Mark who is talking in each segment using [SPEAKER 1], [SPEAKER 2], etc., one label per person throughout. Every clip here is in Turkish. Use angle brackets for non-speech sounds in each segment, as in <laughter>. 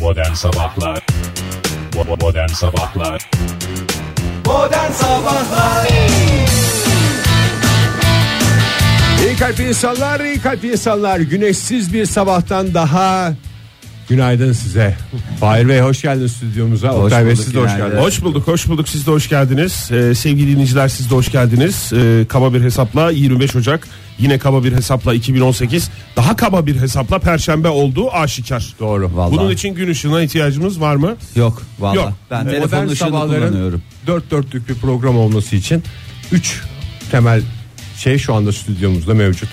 [SPEAKER 1] Modern Sabahlar Bo- Modern Sabahlar
[SPEAKER 2] Modern Sabahlar
[SPEAKER 3] İyi kalp insanlar, iyi kalp insanlar. Güneşsiz bir sabahtan daha günaydın size. Fahir Bey hoş geldiniz stüdyomuza. Hoş Oktay Bey
[SPEAKER 4] bulduk,
[SPEAKER 3] siz de hoş
[SPEAKER 4] günaydın.
[SPEAKER 3] geldiniz.
[SPEAKER 5] Hoş bulduk, hoş bulduk. Siz de hoş geldiniz. Ee, sevgili dinleyiciler siz de hoş geldiniz. Ee, kaba bir hesapla 25 Ocak, yine kaba bir hesapla 2018, daha kaba bir hesapla Perşembe olduğu aşikar.
[SPEAKER 3] Doğru.
[SPEAKER 4] Vallahi.
[SPEAKER 5] Bunun için gün ışığına ihtiyacımız var mı?
[SPEAKER 4] Yok valla.
[SPEAKER 5] Yok. Ee,
[SPEAKER 4] Ben
[SPEAKER 3] Modern
[SPEAKER 4] telefonun ışığını
[SPEAKER 3] sabahların
[SPEAKER 4] kullanıyorum.
[SPEAKER 3] dört dörtlük bir program olması için üç temel şey şu anda stüdyomuzda mevcut.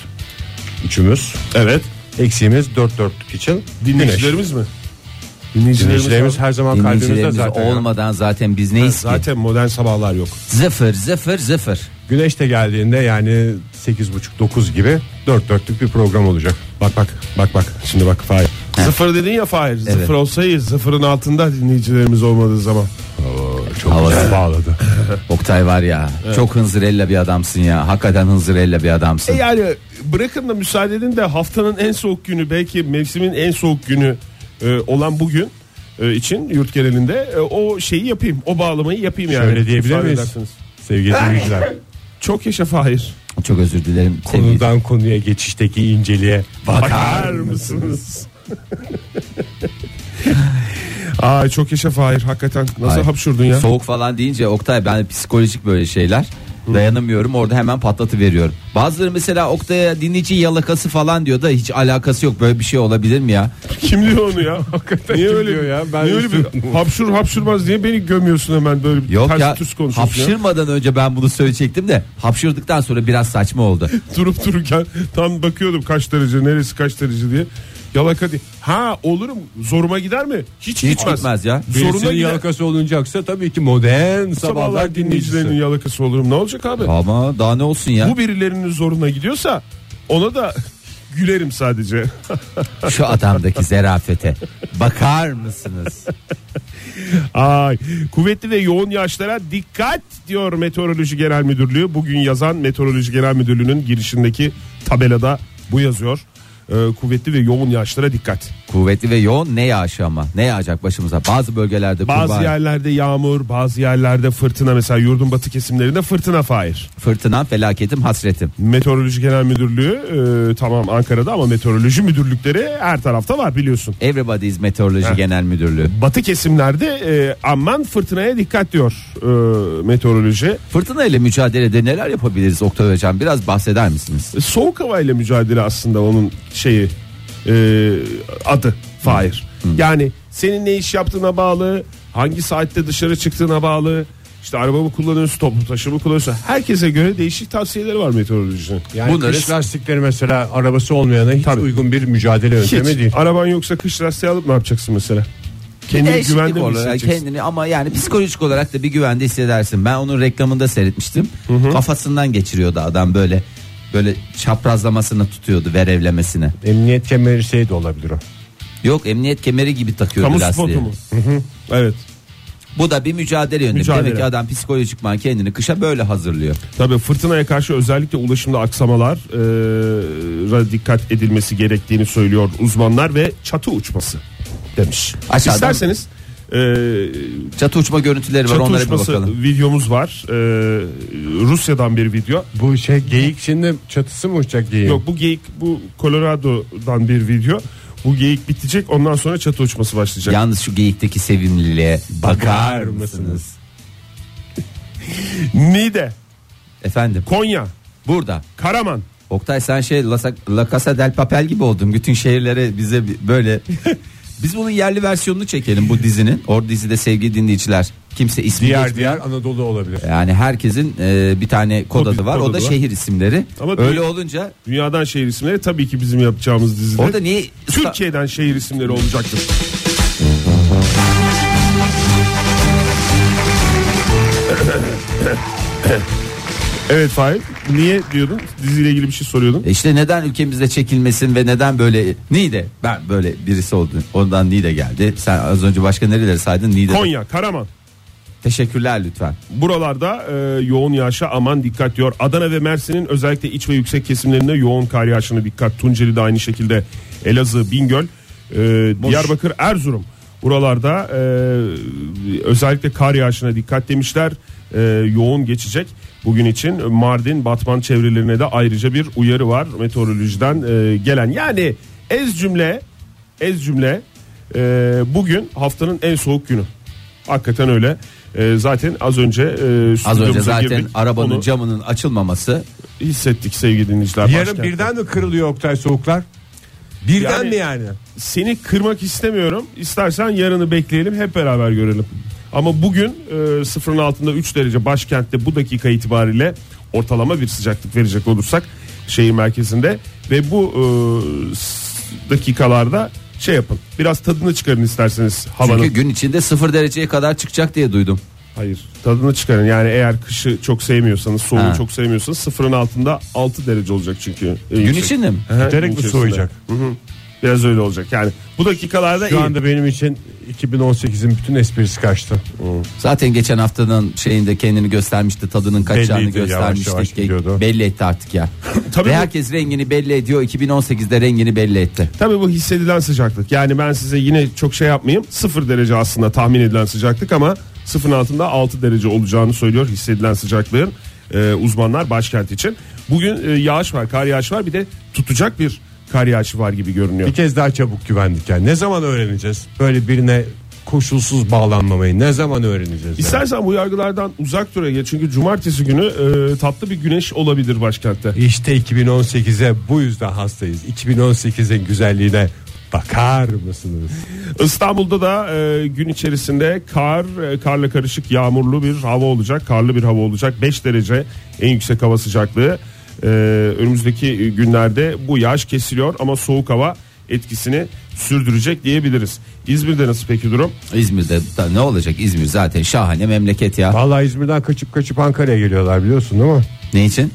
[SPEAKER 3] Üçümüz.
[SPEAKER 5] Evet.
[SPEAKER 3] Eksiğimiz dört dörtlük için güneş.
[SPEAKER 5] Dinleyicilerimiz mi? Dinleyicilerimiz,
[SPEAKER 3] Dinleyicilerimiz her zaman kalbimizde
[SPEAKER 4] Dinleyicilerimiz
[SPEAKER 3] zaten. ya.
[SPEAKER 4] olmadan zaten biz neyiz ki?
[SPEAKER 5] Zaten modern sabahlar yok.
[SPEAKER 4] Zıfır zıfır zıfır.
[SPEAKER 3] Güneş de geldiğinde yani sekiz buçuk dokuz gibi dört dörtlük bir program olacak.
[SPEAKER 5] Bak bak bak bak. Şimdi bak Fahir. Sıfır dedin ya Fahir. Sıfır olsaydı sıfırın altında dinleyicilerimiz olmadığı zaman.
[SPEAKER 3] Çok
[SPEAKER 4] Havası.
[SPEAKER 3] güzel <laughs> bağladı.
[SPEAKER 4] Oktay var ya çok hınzırella bir adamsın ya. Hakikaten hınzırella bir adamsın.
[SPEAKER 5] E yani bırakın da müsaade edin de haftanın en soğuk günü belki mevsimin en soğuk günü e, olan bugün e, için yurt genelinde e, o şeyi yapayım. O bağlamayı yapayım yani.
[SPEAKER 3] Şöyle diyebilir
[SPEAKER 5] Müsaade
[SPEAKER 3] miyiz?
[SPEAKER 5] ederseniz.
[SPEAKER 3] Sevgili dinleyiciler.
[SPEAKER 5] Çok yaşa Fahir.
[SPEAKER 4] Çok özür dilerim. sevgili-
[SPEAKER 3] Konudan konuya geçişteki inceliğe
[SPEAKER 5] Bakar <laughs> mısınız? Ay çok yaşa Fahir hakikaten nasıl
[SPEAKER 4] Ay,
[SPEAKER 5] hapşurdun ya?
[SPEAKER 4] Soğuk falan deyince Oktay ben psikolojik böyle şeyler dayanamıyorum orada hemen patlatı veriyorum. Bazıları mesela Oktay'a dinleyici yalakası falan diyor da hiç alakası yok böyle bir şey olabilir mi ya?
[SPEAKER 5] Kim diyor onu ya? niye
[SPEAKER 3] kim
[SPEAKER 5] öyle
[SPEAKER 3] diyor ya? Ben
[SPEAKER 5] niye öyle bir <laughs> hapşur hapşurmaz diye beni gömüyorsun hemen böyle bir
[SPEAKER 4] Yok
[SPEAKER 5] ters
[SPEAKER 4] ya
[SPEAKER 5] tüs konuşuyorsun. ya.
[SPEAKER 4] hapşırmadan önce ben bunu söyleyecektim de hapşırdıktan sonra biraz saçma oldu.
[SPEAKER 5] durup dururken tam bakıyordum kaç derece neresi kaç derece diye. Yalaka diye. Ha olurum zoruma gider mi? Hiç,
[SPEAKER 4] Hiç
[SPEAKER 5] gitmez.
[SPEAKER 4] gitmez ya.
[SPEAKER 5] Zoruna
[SPEAKER 3] Birisinin
[SPEAKER 5] gider.
[SPEAKER 3] yalakası olunacaksa tabii ki modern sabahlar
[SPEAKER 5] Sabahlar dinleyicilerinin
[SPEAKER 3] dinleyicisi.
[SPEAKER 5] yalakası olurum. Ne olacak abi?
[SPEAKER 4] Ama daha ne olsun ya?
[SPEAKER 5] Bu birilerinin zoruna gidiyorsa ona da <laughs> gülerim sadece.
[SPEAKER 4] Şu adamdaki zerafete bakar
[SPEAKER 5] <laughs>
[SPEAKER 4] mısınız?
[SPEAKER 5] Ay, kuvvetli ve yoğun yağışlara dikkat diyor Meteoroloji Genel Müdürlüğü. Bugün yazan Meteoroloji Genel Müdürlüğü'nün girişindeki tabelada bu yazıyor. Ee, kuvvetli ve yoğun yağışlara dikkat.
[SPEAKER 4] Kuvvetli ve yoğun ne yağışı ama ne yağacak başımıza? Bazı bölgelerde
[SPEAKER 5] Bazı
[SPEAKER 4] kurban,
[SPEAKER 5] yerlerde yağmur, bazı yerlerde fırtına mesela yurdun batı kesimlerinde fırtına fair.
[SPEAKER 4] fırtınam, felaketim, hasretim.
[SPEAKER 5] Meteoroloji Genel Müdürlüğü e, tamam Ankara'da ama meteoroloji müdürlükleri her tarafta var biliyorsun.
[SPEAKER 4] Everybody's Meteoroloji Genel Müdürlüğü.
[SPEAKER 5] Batı kesimlerde e, aman fırtınaya dikkat diyor e, meteoroloji.
[SPEAKER 4] Fırtına ile mücadelede neler yapabiliriz Oktay Hocam? Biraz bahseder misiniz?
[SPEAKER 5] E, Soğuk havayla mücadele aslında onun şeyi e, adı Fahir. Yani senin ne iş yaptığına bağlı, hangi saatte dışarı çıktığına bağlı. işte araba mı kullanıyorsun, toplu taşıma mı kullanıyorsun? Herkese göre değişik tavsiyeleri var meteorolojinin.
[SPEAKER 3] Yani
[SPEAKER 4] Bunları-
[SPEAKER 3] kış lastikleri mesela arabası olmayana hiç uygun bir mücadele yöntemi
[SPEAKER 5] Hiç.
[SPEAKER 3] değil.
[SPEAKER 5] Araban yoksa kış lastiği alıp ne yapacaksın mesela? Kendini
[SPEAKER 4] Değişiklik
[SPEAKER 5] güvende mi
[SPEAKER 4] olarak
[SPEAKER 5] hissedeceksin?
[SPEAKER 4] kendini ama yani psikolojik olarak da bir güvende hissedersin. Ben onun reklamında seyretmiştim. Kafasından geçiriyordu adam böyle böyle çaprazlamasını tutuyordu verevlemesini.
[SPEAKER 3] Emniyet kemeri şey de olabilir o.
[SPEAKER 4] Yok emniyet kemeri gibi takıyordu
[SPEAKER 5] Kamu
[SPEAKER 4] lastiği.
[SPEAKER 5] spotu mu? Evet.
[SPEAKER 4] Bu da bir mücadele yöntemi.
[SPEAKER 5] Mücadele.
[SPEAKER 4] Demek ki adam psikolojikman kendini kışa böyle hazırlıyor.
[SPEAKER 5] Tabii fırtınaya karşı özellikle ulaşımda aksamalara dikkat edilmesi gerektiğini söylüyor uzmanlar ve çatı uçması demiş.
[SPEAKER 4] Aşağıdan-
[SPEAKER 5] İsterseniz e,
[SPEAKER 4] Çatı uçma görüntüleri var
[SPEAKER 5] çatı
[SPEAKER 4] onlara bir bakalım.
[SPEAKER 5] uçması videomuz var. E, Rusya'dan bir video.
[SPEAKER 3] Bu şey geyik şimdi çatısı mı uçacak geyiğin?
[SPEAKER 5] Yok bu geyik bu Colorado'dan bir video. Bu geyik bitecek ondan sonra çatı uçması başlayacak.
[SPEAKER 4] Yalnız şu geyikteki sevimliliğe bakar mısınız?
[SPEAKER 5] Niğde,
[SPEAKER 4] Efendim
[SPEAKER 5] Konya,
[SPEAKER 4] burada
[SPEAKER 5] Karaman.
[SPEAKER 4] Oktay sen şey La, La Casa del Papel gibi oldun. Bütün şehirlere bize bi-
[SPEAKER 5] <laughs>
[SPEAKER 4] böyle... Biz bunun yerli versiyonunu çekelim bu dizinin. Or dizide sevgili dinleyiciler. Kimse ismi
[SPEAKER 3] Diğer
[SPEAKER 4] geçmiyor.
[SPEAKER 3] diğer Anadolu olabilir.
[SPEAKER 4] Yani herkesin e, bir tane kod
[SPEAKER 5] Kod-
[SPEAKER 4] adı var.
[SPEAKER 5] kod
[SPEAKER 4] o da
[SPEAKER 5] adı var.
[SPEAKER 4] şehir isimleri.
[SPEAKER 5] Ama
[SPEAKER 4] Öyle
[SPEAKER 5] değil.
[SPEAKER 4] olunca
[SPEAKER 5] Dünyadan şehir isimleri tabii ki bizim yapacağımız dizide.
[SPEAKER 4] orada niye...
[SPEAKER 5] Türkiye'den şehir isimleri olacaktır. evet Fahir. Niye diyordun? Diziyle ilgili bir şey soruyordun.
[SPEAKER 4] E İşte neden ülkemizde çekilmesin ve neden böyle Niğde ben böyle birisi oldum ondan Niğde geldi sen az önce başka nereleri saydın Niğde
[SPEAKER 5] Konya, Karaman.
[SPEAKER 4] teşekkürler lütfen
[SPEAKER 5] Buralarda e, yoğun yağışa aman dikkat diyor. Adana ve Mersin'in özellikle iç ve yüksek kesimlerinde yoğun kar yağışına dikkat. Tunceli'de aynı şekilde Elazığ, Bingöl, e, Diyarbakır, Erzurum. Buralarda e, özellikle kar yağışına dikkat demişler. E, yoğun geçecek. Bugün için Mardin, Batman çevrelerine de ayrıca bir uyarı var meteorolojiden e, gelen. Yani ez cümle ez cümle e, bugün haftanın en soğuk günü. Hakikaten öyle. E, zaten az önce e,
[SPEAKER 4] Az önce
[SPEAKER 5] stüdyomuza
[SPEAKER 4] zaten
[SPEAKER 5] girdik.
[SPEAKER 4] arabanın
[SPEAKER 5] Onu
[SPEAKER 4] camının açılmaması
[SPEAKER 5] hissettik sevgili dinleyiciler.
[SPEAKER 3] Yarın
[SPEAKER 5] Başkentte.
[SPEAKER 3] birden mi kırılıyor Oktay soğuklar? Birden
[SPEAKER 5] Yani-
[SPEAKER 3] mi yani?
[SPEAKER 5] seni kırmak istemiyorum. İstersen yarını bekleyelim hep beraber görelim. Ama bugün e, sıfırın altında 3 derece başkentte bu dakika itibariyle ortalama bir sıcaklık verecek olursak şehir merkezinde ve bu e, s- dakikalarda şey yapın. Biraz tadını çıkarın isterseniz havanın.
[SPEAKER 4] çünkü gün içinde sıfır dereceye kadar çıkacak diye duydum.
[SPEAKER 5] Hayır. Tadını çıkarın. Yani eğer kışı çok sevmiyorsanız, soğuğu
[SPEAKER 4] Ha.
[SPEAKER 5] çok sevmiyorsanız sıfırın altında 6 derece olacak çünkü.
[SPEAKER 4] Gün içinde mi?
[SPEAKER 3] Giderek mi soğuyacak?
[SPEAKER 5] Biraz öyle olacak. Yani bu dakikalarda
[SPEAKER 3] Şu
[SPEAKER 5] iyi.
[SPEAKER 3] anda benim için 2018'in bütün esprisi kaçtı.
[SPEAKER 4] Zaten geçen haftanın şeyinde kendini göstermişti tadının kaçacağını
[SPEAKER 3] Belliydi, yavaş
[SPEAKER 4] göstermiştik.
[SPEAKER 3] yavaş gidiyordu.
[SPEAKER 4] belli etti artık
[SPEAKER 3] <laughs>
[SPEAKER 4] ya.
[SPEAKER 5] Tabii
[SPEAKER 4] Ve
[SPEAKER 5] bu-
[SPEAKER 4] herkes rengini belli ediyor. 2018'de rengini belli etti.
[SPEAKER 5] Tabii bu hissedilen sıcaklık. Yani ben size yine çok şey yapmayayım. Sıfır derece aslında tahmin edilen sıcaklık ama sıfırın altında 6 derece olacağını söylüyor hissedilen sıcaklığın e, uzmanlar başkent için. Bugün e, yağış var, kar yağışı var. Bir de tutacak bir kar yağışı var gibi görünüyor.
[SPEAKER 3] Bir kez daha çabuk güvendik yani. Ne zaman öğreneceğiz? Böyle birine koşulsuz bağlanmamayı ne zaman öğreneceğiz? yani?
[SPEAKER 5] İstersen bu yargılardan uzak dur Ege. Çünkü cumartesi günü e, tatlı bir güneş olabilir başkentte.
[SPEAKER 3] İşte 2018'e bu yüzden hastayız. 2018'in güzelliğine bakar mısınız?
[SPEAKER 5] İstanbul'da da e, gün içerisinde kar, e, karla karışık yağmurlu bir hava olacak. Karlı bir hava olacak. 5 derece en yüksek hava sıcaklığı. E, önümüzdeki günlerde bu yağış kesiliyor ama soğuk hava etkisini sürdürecek diyebiliriz. İzmir'de nasıl peki durum?
[SPEAKER 4] İzmir'de da ne olacak? İzmir zaten şahane memleket ya.
[SPEAKER 3] Vallahi İzmir'den kaçıp kaçıp Ankara'ya geliyorlar biliyorsun değil mi?
[SPEAKER 4] Ne için?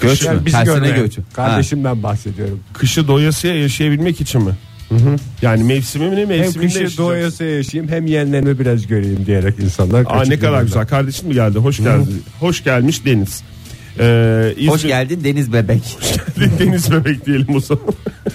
[SPEAKER 4] Göç
[SPEAKER 3] Yani
[SPEAKER 4] mü?
[SPEAKER 3] bizi
[SPEAKER 4] Tersine
[SPEAKER 3] görmeye.
[SPEAKER 4] göçü.
[SPEAKER 3] Kardeşimden bahsediyorum.
[SPEAKER 5] Kışı doyasıya yaşayabilmek için mi? Yani mevsimi mi ne
[SPEAKER 3] Hem
[SPEAKER 5] mevsiminde
[SPEAKER 3] kışı
[SPEAKER 5] yaşayacağız.
[SPEAKER 3] doyasıya yaşayayım hem yeğenlerimi biraz göreyim diyerek insanlar
[SPEAKER 5] Aa,
[SPEAKER 3] kaçıp
[SPEAKER 5] ne kadar
[SPEAKER 3] gidiyorlar.
[SPEAKER 5] güzel. Kardeşin mi geldi? Hoş geldi. Hoş gelmiş Deniz. Ee,
[SPEAKER 4] Ha. Hoş
[SPEAKER 5] İzmir-
[SPEAKER 4] geldin Deniz Bebek.
[SPEAKER 5] <laughs> Deniz bebek diyelim o zaman. <laughs>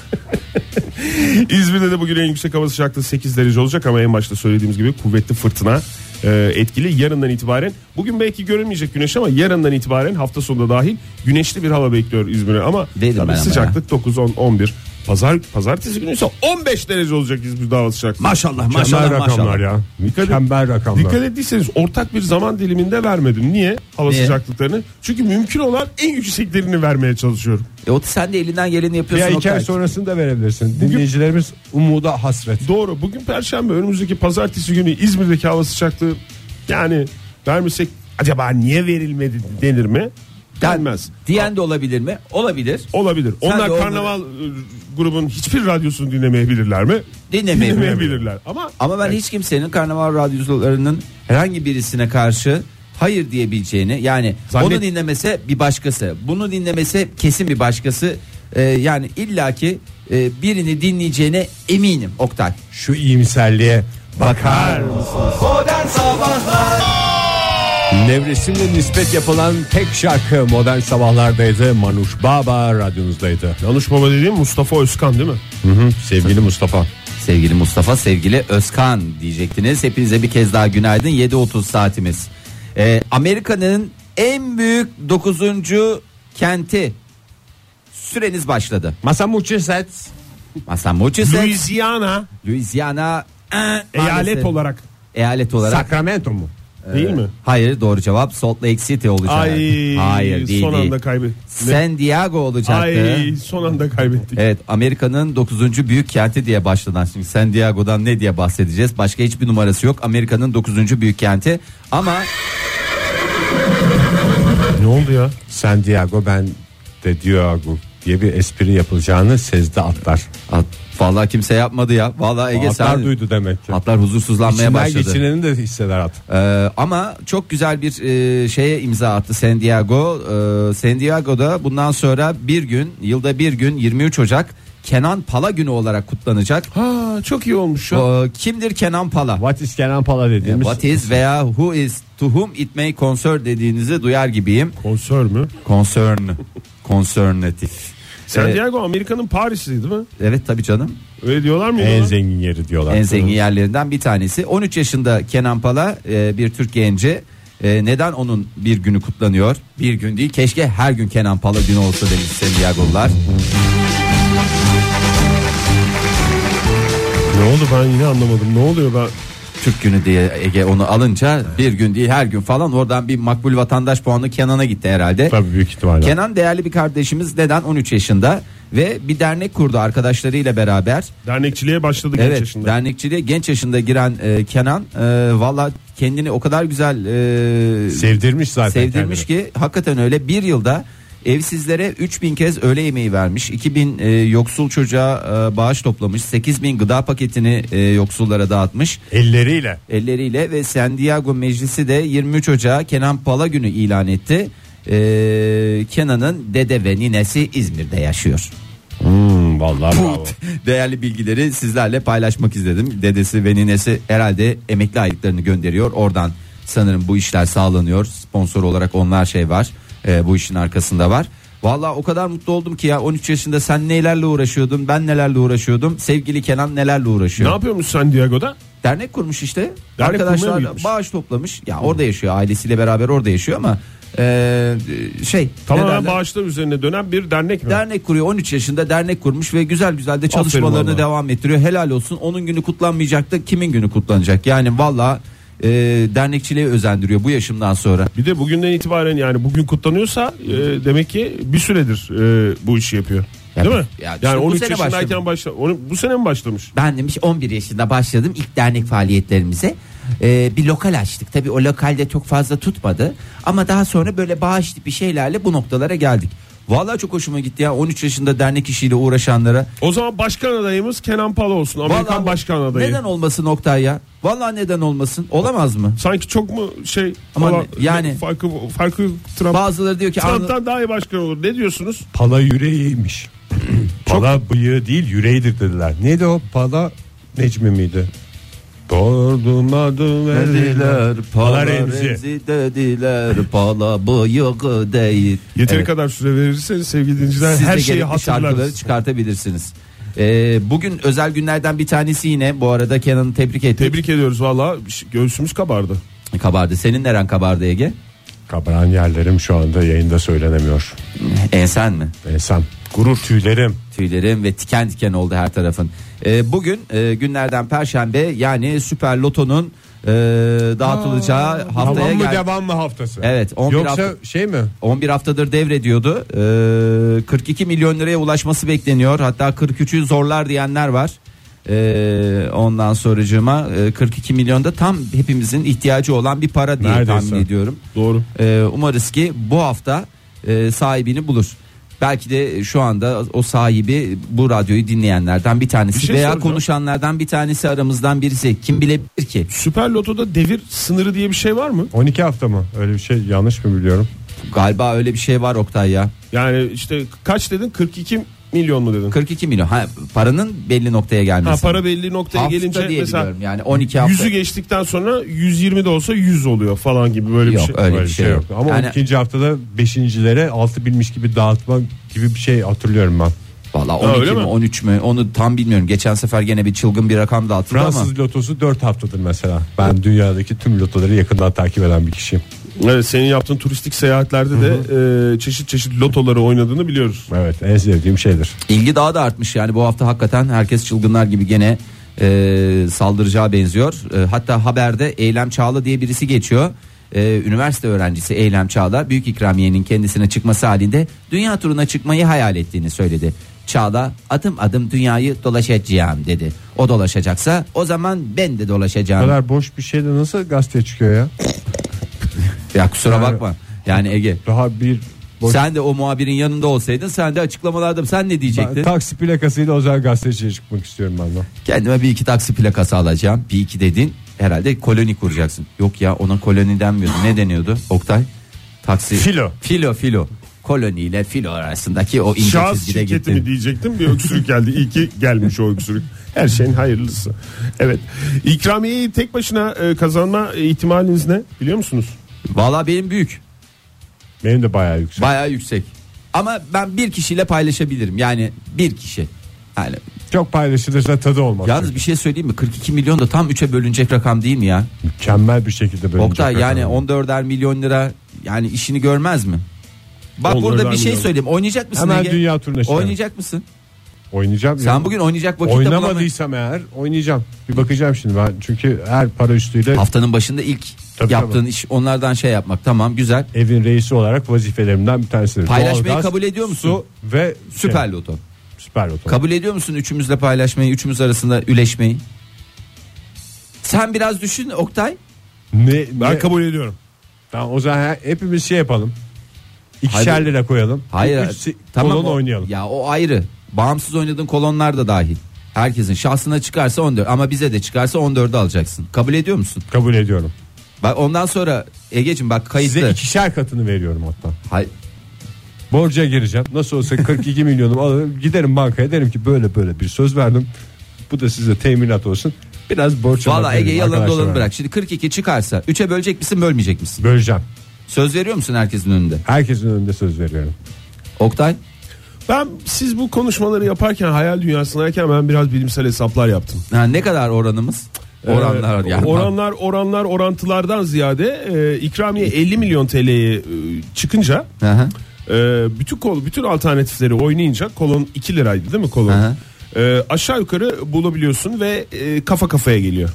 [SPEAKER 5] İzmir'de de bugün en yüksek hava sıcaklığı 8 derece olacak ama en başta söylediğimiz gibi kuvvetli fırtına e, etkili. Yarından itibaren bugün belki görünmeyecek güneş ama yarından itibaren hafta sonunda dahil güneşli bir hava bekliyor İzmir'e ama
[SPEAKER 4] Verin
[SPEAKER 5] tabii
[SPEAKER 4] bana
[SPEAKER 5] sıcaklık 9 10 11. Pazar pazartesi günü ise 15 derece olacak İzmir'de hava sıcaklığı.
[SPEAKER 4] Maşallah
[SPEAKER 3] Mükemmel
[SPEAKER 4] maşallah
[SPEAKER 3] rakamlar
[SPEAKER 4] maşallah.
[SPEAKER 3] ya.
[SPEAKER 5] Dikkat et-
[SPEAKER 3] Mükemmel rakamlar.
[SPEAKER 5] Dikkat ettiyseniz ortak bir zaman diliminde vermedim. Niye? Hava
[SPEAKER 4] Niye?
[SPEAKER 5] sıcaklıklarını. Çünkü mümkün olan en yükseklerini vermeye çalışıyorum.
[SPEAKER 4] E, o sen de elinden geleni yapıyorsun.
[SPEAKER 3] Veya iki ay
[SPEAKER 4] Oktay.
[SPEAKER 3] sonrasını da verebilirsin. Dinleyicilerimiz umuda hasret.
[SPEAKER 5] Doğru. Bugün Perşembe. Önümüzdeki Pazartesi günü İzmir'deki hava sıcaklığı yani vermesek acaba niye verilmedi denir mi?
[SPEAKER 4] Den-
[SPEAKER 5] Denmez.
[SPEAKER 4] Diyen de olabilir mi? Olabilir.
[SPEAKER 5] Olabilir.
[SPEAKER 4] Sen de
[SPEAKER 5] Onlar
[SPEAKER 4] onları-
[SPEAKER 5] karnaval e, grubun hiçbir radyosunu dinlemeyebilirler mi?
[SPEAKER 4] Dinlemeyebilirler.
[SPEAKER 5] Dinlemeyebilirler. Ama
[SPEAKER 4] Ama ben hiç kimsenin karnaval radyocularının herhangi birisine karşı hayır diyebileceğini yani
[SPEAKER 5] Zannet-
[SPEAKER 4] onu dinlemese bir başkası bunu dinlemese kesin bir başkası Ee, yani illaki e, birini dinleyeceğine eminim Oktay.
[SPEAKER 3] Şu iyimserliğe bakar.
[SPEAKER 2] Modern Sabahlar
[SPEAKER 3] Nevresimle nispet yapılan tek şarkı modern sabahlardaydı. Manuş Baba radyonuzdaydı.
[SPEAKER 5] Yanuş Baba dediğim Mustafa Özkan değil mi?
[SPEAKER 3] Sevgili Mustafa.
[SPEAKER 4] Sevgili Mustafa, sevgili Özkan diyecektiniz. Hepinize bir kez daha günaydın. 7.30 saatimiz. Ee, Amerika'nın en büyük 9. kenti. Süreniz başladı.
[SPEAKER 3] Massachusetts.
[SPEAKER 4] Massachusetts,
[SPEAKER 5] Louisiana
[SPEAKER 4] Louisiana eh,
[SPEAKER 5] eyalet
[SPEAKER 4] maalesef.
[SPEAKER 5] olarak
[SPEAKER 4] eyalet olarak
[SPEAKER 3] Sacramento mu?
[SPEAKER 5] değil mi?
[SPEAKER 4] Hayır doğru cevap Salt Lake City olacak.
[SPEAKER 5] Ay,
[SPEAKER 4] Hayır değil.
[SPEAKER 5] son
[SPEAKER 4] değil.
[SPEAKER 5] anda kaybettim.
[SPEAKER 4] San Diego olacaktı.
[SPEAKER 5] Ay son anda kaybettik.
[SPEAKER 4] Evet Amerika'nın 9. büyük kenti diye başlanan şimdi San Diego'dan ne diye bahsedeceğiz? Başka hiçbir numarası yok. Amerika'nın 9. büyük kenti ama
[SPEAKER 5] Ne oldu ya?
[SPEAKER 3] San Diego ben de Diego diye bir espri yapılacağını sezdi atlar.
[SPEAKER 4] At- vallahi kimse yapmadı ya. Vallahi Ege
[SPEAKER 3] atlar
[SPEAKER 4] sen
[SPEAKER 3] duydu demek ki.
[SPEAKER 4] Atlar huzursuzlanmaya
[SPEAKER 3] İçinden
[SPEAKER 4] başladı.
[SPEAKER 3] geçineni de hisseder at.
[SPEAKER 4] Ee, ama çok güzel bir e, şeye imza attı San Diego. Ee, San Diego'da bundan sonra bir gün, yılda bir gün 23 Ocak Kenan Pala günü olarak kutlanacak.
[SPEAKER 5] Ha çok iyi olmuş şu
[SPEAKER 4] Ee, kimdir Kenan Pala?
[SPEAKER 3] What is Kenan Pala dediğimiz.
[SPEAKER 4] What is veya who is to whom it may concern dediğinizi duyar gibiyim.
[SPEAKER 5] Konsör mü?
[SPEAKER 4] Concern. Concernatif.
[SPEAKER 5] San
[SPEAKER 4] Evet.
[SPEAKER 5] Diego Amerika'nın Paris'i değil mi?
[SPEAKER 4] Evet tabii canım.
[SPEAKER 5] Öyle diyorlar mı?
[SPEAKER 3] En
[SPEAKER 5] ona?
[SPEAKER 3] zengin yeri diyorlar.
[SPEAKER 4] En zengin yerlerinden bir tanesi. 13 yaşında Kenan Pala e, bir Türk genci. E, neden onun bir günü kutlanıyor? Bir gün değil keşke her gün Kenan Pala günü olsa demiş San Diego'lular.
[SPEAKER 5] Ne oldu ben yine anlamadım. Ne oluyor ben?
[SPEAKER 4] Türk günü diye Ege onu alınca bir gün değil her gün falan oradan bir makbul vatandaş puanı Kenan'a gitti herhalde.
[SPEAKER 3] Tabii büyük ihtimalle.
[SPEAKER 4] Kenan değerli bir kardeşimiz neden 13 yaşında ve bir dernek kurdu arkadaşlarıyla beraber.
[SPEAKER 5] Dernekçiliğe başladı genç
[SPEAKER 4] Evet
[SPEAKER 5] yaşında.
[SPEAKER 4] dernekçiliğe genç yaşında giren e, Kenan e, valla kendini o kadar güzel e,
[SPEAKER 3] Sevdirmiş zaten
[SPEAKER 4] sevdirmiş ki hakikaten öyle bir yılda evsizlere 3000 kez öğle yemeği vermiş 2000 e, yoksul çocuğa e, bağış toplamış 8000 gıda paketini e, yoksullara dağıtmış
[SPEAKER 3] Elleriyle.
[SPEAKER 4] elleriyle ve San Diego Meclisi de 23 Ocağı Kenan Pala günü ilan etti. Ee, Kenan'ın dede ve ninesi İzmir'de yaşıyor.
[SPEAKER 3] Vallahi bravo.
[SPEAKER 4] <laughs> Değerli bilgileri sizlerle paylaşmak istedim. Dedesi ve ninesi herhalde emekli aylıklarını gönderiyor. Oradan sanırım bu işler sağlanıyor. Sponsor olarak onlar şey var. Ee, bu işin arkasında var. Vallahi o kadar mutlu oldum ki ya 13 yaşında sen nelerle uğraşıyordun ben nelerle uğraşıyordum sevgili Kenan nelerle
[SPEAKER 5] Ne
[SPEAKER 4] uğraşıyor.
[SPEAKER 5] yapıyormuş San Diego'da?
[SPEAKER 4] Dernek kurmuş işte.
[SPEAKER 5] Dernek kurmaya mı
[SPEAKER 4] Arkadaşlar
[SPEAKER 5] gitmiş?
[SPEAKER 4] bağış toplamış. Ya orada yaşıyor ailesiyle beraber orada yaşıyor ama e, şey ne
[SPEAKER 5] Tamamen
[SPEAKER 4] derler?
[SPEAKER 5] bağışlar üzerine dönen bir dernek mi?
[SPEAKER 4] dernek kuruyor 13 yaşında dernek kurmuş ve güzel güzel de çalışmalarını
[SPEAKER 5] vallahi.
[SPEAKER 4] devam ettiriyor. Helal olsun. Onun günü kutlanmayacak da kimin günü kutlanacak? Yani valla e, dernekçiliğe özendiriyor bu yaşımdan sonra.
[SPEAKER 5] Bir de bugünden itibaren yani bugün kutlanıyorsa e, demek ki bir süredir e, bu işi yapıyor.
[SPEAKER 4] Ya
[SPEAKER 5] Değil
[SPEAKER 4] bu-
[SPEAKER 5] mi?
[SPEAKER 4] ya işte
[SPEAKER 5] yani
[SPEAKER 4] bu
[SPEAKER 5] 13
[SPEAKER 4] sene
[SPEAKER 5] yaşındayken
[SPEAKER 4] başladı.
[SPEAKER 5] başla. onu- Bu sene mi başlamış?
[SPEAKER 4] Ben demiş 11 yaşında başladım ilk dernek faaliyetlerimize. Ee, bir lokal açtık. Tabii o lokalde çok fazla tutmadı. Ama daha sonra böyle bağış tipi şeylerle bu noktalara geldik. Vallahi çok hoşuma gitti ya 13 yaşında dernek işiyle uğraşanlara.
[SPEAKER 5] O zaman başkan adayımız Kenan Pala olsun. Amerikan
[SPEAKER 4] Vallahi
[SPEAKER 5] başkan adayı.
[SPEAKER 4] Neden olmasın Oktay ya? Vallahi neden olmasın? Olamaz mı?
[SPEAKER 5] Sanki çok mu şey
[SPEAKER 4] Ama
[SPEAKER 5] falan-
[SPEAKER 4] yani-
[SPEAKER 5] farkı farkı Trump,
[SPEAKER 4] Bazıları diyor ki Arnold-
[SPEAKER 5] Trump'tan daha iyi başkan olur. Ne diyorsunuz?
[SPEAKER 4] <clears throat>
[SPEAKER 3] Pala yüreğiymiş. pala bıyığı değil yüreğidir dediler. Neydi o pala Necmi miydi? Doğdum adı verdiler. Pala Remzi.
[SPEAKER 4] dediler pala bıyığı değil.
[SPEAKER 5] Yeteri
[SPEAKER 4] Evet.
[SPEAKER 5] kadar süre verirseniz sevgili dinleyiciler
[SPEAKER 4] Siz
[SPEAKER 5] her
[SPEAKER 4] de
[SPEAKER 5] şeyi
[SPEAKER 4] gerekli şarkıları
[SPEAKER 5] hatırlarız.
[SPEAKER 4] çıkartabilirsiniz. Ee, bugün özel günlerden bir tanesi yine bu arada Kenan'ı tebrik ettik.
[SPEAKER 5] Tebrik ediyoruz valla göğsümüz kabardı.
[SPEAKER 4] Kabardı. Senin neren kabardı Ege?
[SPEAKER 3] Kabaran yerlerim şu anda yayında söylenemiyor.
[SPEAKER 4] Ensen mi?
[SPEAKER 3] Ensem. Gurur tüylerim.
[SPEAKER 4] Tüylerim ve tiken tiken oldu her tarafın. Ee, bugün e, günlerden perşembe yani Süper Loto'nun e, dağıtılacağı haftaya
[SPEAKER 3] Tamam mı
[SPEAKER 4] geldi.
[SPEAKER 3] devam mı haftası?
[SPEAKER 4] Evet, 11
[SPEAKER 3] Yoksa
[SPEAKER 4] hafta-
[SPEAKER 3] şey mi?
[SPEAKER 4] 11 haftadır devrediyordu. Ee, 42 milyon liraya ulaşması bekleniyor. Hatta 43'ü zorlar diyenler var. Ee, ondan sonracığıma e, 42 milyon da tam hepimizin ihtiyacı olan bir para diye
[SPEAKER 3] Neredeyse.
[SPEAKER 4] tahmin ediyorum.
[SPEAKER 5] Doğru.
[SPEAKER 4] Ee, umarız ki bu hafta e, sahibini bulur. Belki de şu anda o sahibi bu radyoyu dinleyenlerden bir tanesi
[SPEAKER 5] Bir şey
[SPEAKER 4] veya
[SPEAKER 5] soracağım.
[SPEAKER 4] konuşanlardan bir tanesi aramızdan birisi. Kim bilebilir ki?
[SPEAKER 5] Süper Loto'da devir sınırı diye bir şey var mı?
[SPEAKER 3] 12 hafta mı? Öyle bir şey yanlış mı biliyorum?
[SPEAKER 4] Galiba öyle bir şey var Oktay ya.
[SPEAKER 5] Yani işte kaç dedin 42 milyon mu dedin?
[SPEAKER 4] 42 milyon. Ha, paranın belli noktaya
[SPEAKER 5] Ha,
[SPEAKER 4] gelmesi.
[SPEAKER 5] para belli noktaya
[SPEAKER 4] Hafta
[SPEAKER 5] gelince
[SPEAKER 4] diye
[SPEAKER 5] mesela
[SPEAKER 4] biliyorum yani 12 hafta.
[SPEAKER 5] 100'ü geçtikten sonra 120 de olsa 100 oluyor falan gibi böyle
[SPEAKER 4] Yok,
[SPEAKER 5] bir şey.
[SPEAKER 4] öyle
[SPEAKER 3] Öyle
[SPEAKER 4] bir şey yok.
[SPEAKER 3] Ama
[SPEAKER 4] Yani-
[SPEAKER 3] 12. haftada 5.lere 6 bilmiş gibi dağıtma gibi bir şey hatırlıyorum ben.
[SPEAKER 4] Valla
[SPEAKER 5] Ha,
[SPEAKER 4] 12
[SPEAKER 5] öyle
[SPEAKER 4] mi,
[SPEAKER 5] mi?
[SPEAKER 4] 13 mü onu tam bilmiyorum. Geçen sefer gene bir çılgın bir rakam da atıldı ama.
[SPEAKER 3] Fransız lotosu 4 haftadır mesela. Ben dünyadaki tüm lotoları yakından takip eden bir kişiyim.
[SPEAKER 5] Evet, senin yaptığın turistik seyahatlerde de e, çeşit çeşit lotoları oynadığını biliyoruz.
[SPEAKER 3] Evet en sevdiğim şeydir.
[SPEAKER 4] İlgi daha da artmış yani bu hafta hakikaten herkes çılgınlar gibi gene e, saldıracağı benziyor. E, hatta haberde Eylem Çağla diye birisi geçiyor. E, üniversite öğrencisi Eylem Çağla büyük ikramiyenin kendisine çıkması halinde dünya turuna çıkmayı hayal ettiğini söyledi. Çağla adım adım dünyayı dolaşacağım dedi. O dolaşacaksa o zaman ben de
[SPEAKER 3] Bu
[SPEAKER 4] dolaşacağım.
[SPEAKER 3] kadar boş bir şeyde nasıl gazete çıkıyor ya?
[SPEAKER 4] Ya kusura
[SPEAKER 3] Yani-
[SPEAKER 4] bakma. Yani Ege
[SPEAKER 3] Daha bir boş...
[SPEAKER 4] sen de o muhabirin yanında olsaydın sen de açıklamalarda sen ne diyecektin?
[SPEAKER 3] Ben taksi plakasıyla özel gazeteciye çıkmak istiyorum ben de.
[SPEAKER 4] Kendime bir iki taksi plakası alacağım. Bir iki dedin herhalde koloni kuracaksın. Yok ya ona koloni denmiyordu. Ne deniyordu Oktay? Taksi.
[SPEAKER 3] Filo.
[SPEAKER 4] Filo filo. Koloni ile filo arasındaki o ince
[SPEAKER 5] Şahıs
[SPEAKER 4] çizgide
[SPEAKER 5] şirketi
[SPEAKER 4] gittin.
[SPEAKER 5] mi diyecektim bir öksürük geldi. İyi ki gelmiş o öksürük. Her şeyin hayırlısı. Evet. İkramiyeyi tek başına e, kazanma ihtimaliniz ne biliyor musunuz?
[SPEAKER 4] Valla benim büyük.
[SPEAKER 3] Benim de bayağı yüksek.
[SPEAKER 4] Baya yüksek. Ama ben bir kişiyle paylaşabilirim. Yani bir kişi. Yani
[SPEAKER 3] Çok paylaşılırsa tadı olmaz.
[SPEAKER 4] yalnız bir şey söyleyeyim mi? 42 milyon da tam 3'e bölünecek rakam değil mi ya?
[SPEAKER 3] Mükemmel bir şekilde böyle.
[SPEAKER 4] Oktay yani 14'er milyon lira yani işini görmez mi? Bak
[SPEAKER 5] 14'er
[SPEAKER 4] burada bir şey
[SPEAKER 5] milyon.
[SPEAKER 4] söyleyeyim. Oynayacak mısın
[SPEAKER 3] Hemen
[SPEAKER 4] Ege?
[SPEAKER 3] dünya turuna çıkalım.
[SPEAKER 4] Oynayacak mısın?
[SPEAKER 3] Oynayacağım.
[SPEAKER 4] Sen bugün oynayacak vakit de bulamadın.
[SPEAKER 3] Oynamadıysam eğer oynayacağım. Bir bakacağım şimdi ben çünkü her para üstüyle
[SPEAKER 4] Haftanın başında ilk
[SPEAKER 3] Tabii,
[SPEAKER 4] yaptığın
[SPEAKER 3] tabii.
[SPEAKER 4] iş onlardan şey yapmak. Tamam güzel.
[SPEAKER 3] evin reisi olarak vazifelerimden bir tanesidir.
[SPEAKER 4] Paylaşmayı
[SPEAKER 3] Doğalgaz,
[SPEAKER 4] kabul ediyor musun?
[SPEAKER 3] Su ve
[SPEAKER 4] Süper
[SPEAKER 3] şey,
[SPEAKER 4] loto.
[SPEAKER 3] süper loto.
[SPEAKER 4] Kabul ediyor musun üçümüzle paylaşmayı, üçümüz arasında üleşmeyi? Sen biraz düşün Oktay.
[SPEAKER 3] ne,
[SPEAKER 5] Ben
[SPEAKER 3] ne-
[SPEAKER 5] kabul ediyorum.
[SPEAKER 3] Tamam, o zaman he- hepimiz şey yapalım. İkişer
[SPEAKER 4] Hadi.
[SPEAKER 3] lira koyalım.
[SPEAKER 4] Hayır.
[SPEAKER 3] Üç si-
[SPEAKER 4] tamam
[SPEAKER 3] kolon
[SPEAKER 4] o-
[SPEAKER 3] oynayalım.
[SPEAKER 4] Ya o ayrı. Bağımsız oynadığın kolonlar da dahil. Herkesin şahsına çıkarsa 14 ama bize de çıkarsa 14'ü alacaksın. Kabul ediyor musun?
[SPEAKER 3] Kabul ediyorum.
[SPEAKER 4] Bak ondan sonra Egeciğim bak
[SPEAKER 3] Size
[SPEAKER 4] kayıtlı.
[SPEAKER 3] ikişer katını veriyorum hatta.
[SPEAKER 4] Hay-
[SPEAKER 3] Borca gireceğim. Nasıl olsa 42 <laughs> milyonumu alırım. Giderim bankaya derim ki böyle böyle bir söz verdim. Bu da size teminat olsun. Biraz borç
[SPEAKER 4] Valla
[SPEAKER 3] alabilirim
[SPEAKER 4] Ege yalan
[SPEAKER 3] arkadaşlar.
[SPEAKER 4] dolanı bırak. Şimdi 42 çıkarsa 3'e bölecek misin bölmeyecek misin?
[SPEAKER 3] Böleceğim.
[SPEAKER 4] Söz veriyor musun herkesin önünde?
[SPEAKER 3] Herkesin önünde söz veriyorum.
[SPEAKER 4] Oktay
[SPEAKER 5] Ben siz bu konuşmaları yaparken hayal dünyasındayken ben biraz bilimsel hesaplar yaptım.
[SPEAKER 4] ha, ne kadar oranımız? Oranlar
[SPEAKER 5] Ee,
[SPEAKER 4] yani.
[SPEAKER 5] Oranlar oranlar orantılardan ziyade e, ikramiye 50 milyon TL'yi e, çıkınca
[SPEAKER 4] Hı hı.
[SPEAKER 5] e, bütün kol bütün alternatifleri oynayınca kolon 2 liraydı değil mi kolon?
[SPEAKER 4] Aha.
[SPEAKER 5] E, aşağı yukarı bulabiliyorsun ve e, kafa kafaya geliyor.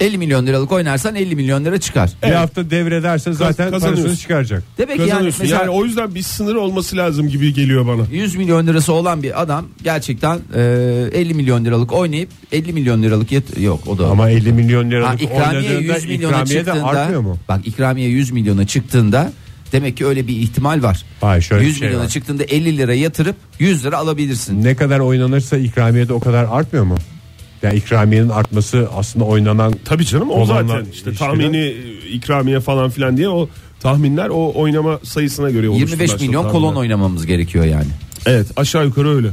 [SPEAKER 4] 50 milyon liralık oynarsan 50 milyon lira çıkar.
[SPEAKER 5] Evet.
[SPEAKER 3] Bir hafta devrederse zaten
[SPEAKER 5] kazanıyorsun.
[SPEAKER 3] parasını çıkaracak.
[SPEAKER 4] Demek ki yani
[SPEAKER 5] Kazanıyorsun. Yani,
[SPEAKER 4] mesela
[SPEAKER 5] o yüzden bir sınır olması lazım gibi geliyor bana.
[SPEAKER 4] 100 milyon lirası olan bir adam gerçekten e, 50 milyon liralık oynayıp 50 milyon liralık yet- yok o da
[SPEAKER 3] Ama 50 milyon
[SPEAKER 4] Ha,
[SPEAKER 3] liralık
[SPEAKER 4] ikramiye
[SPEAKER 3] oynadığında
[SPEAKER 4] 100 milyona
[SPEAKER 3] ikramiye de artmıyor
[SPEAKER 4] çıktığında
[SPEAKER 3] mu?
[SPEAKER 4] bak ikramiye 100 milyona çıktığında demek ki öyle bir ihtimal var.
[SPEAKER 3] Hayır, şöyle bir
[SPEAKER 4] 100
[SPEAKER 3] şey
[SPEAKER 4] milyona
[SPEAKER 3] var.
[SPEAKER 4] çıktığında 50 lira yatırıp 100 lira alabilirsin.
[SPEAKER 3] Ne kadar oynanırsa ikramiye de o kadar artmıyor mu? Yani ikramiyenin artması aslında oynanan
[SPEAKER 5] Tabii canım o
[SPEAKER 3] Olanlar
[SPEAKER 5] zaten işte
[SPEAKER 3] ilişkiler.
[SPEAKER 5] tahmini e, ikramiye falan filan diye o tahminler o oynama sayısına göre oluştu.
[SPEAKER 4] 25
[SPEAKER 5] başta
[SPEAKER 4] milyon
[SPEAKER 5] tahminler.
[SPEAKER 4] kolon oynamamız gerekiyor yani.
[SPEAKER 5] Evet aşağı yukarı öyle.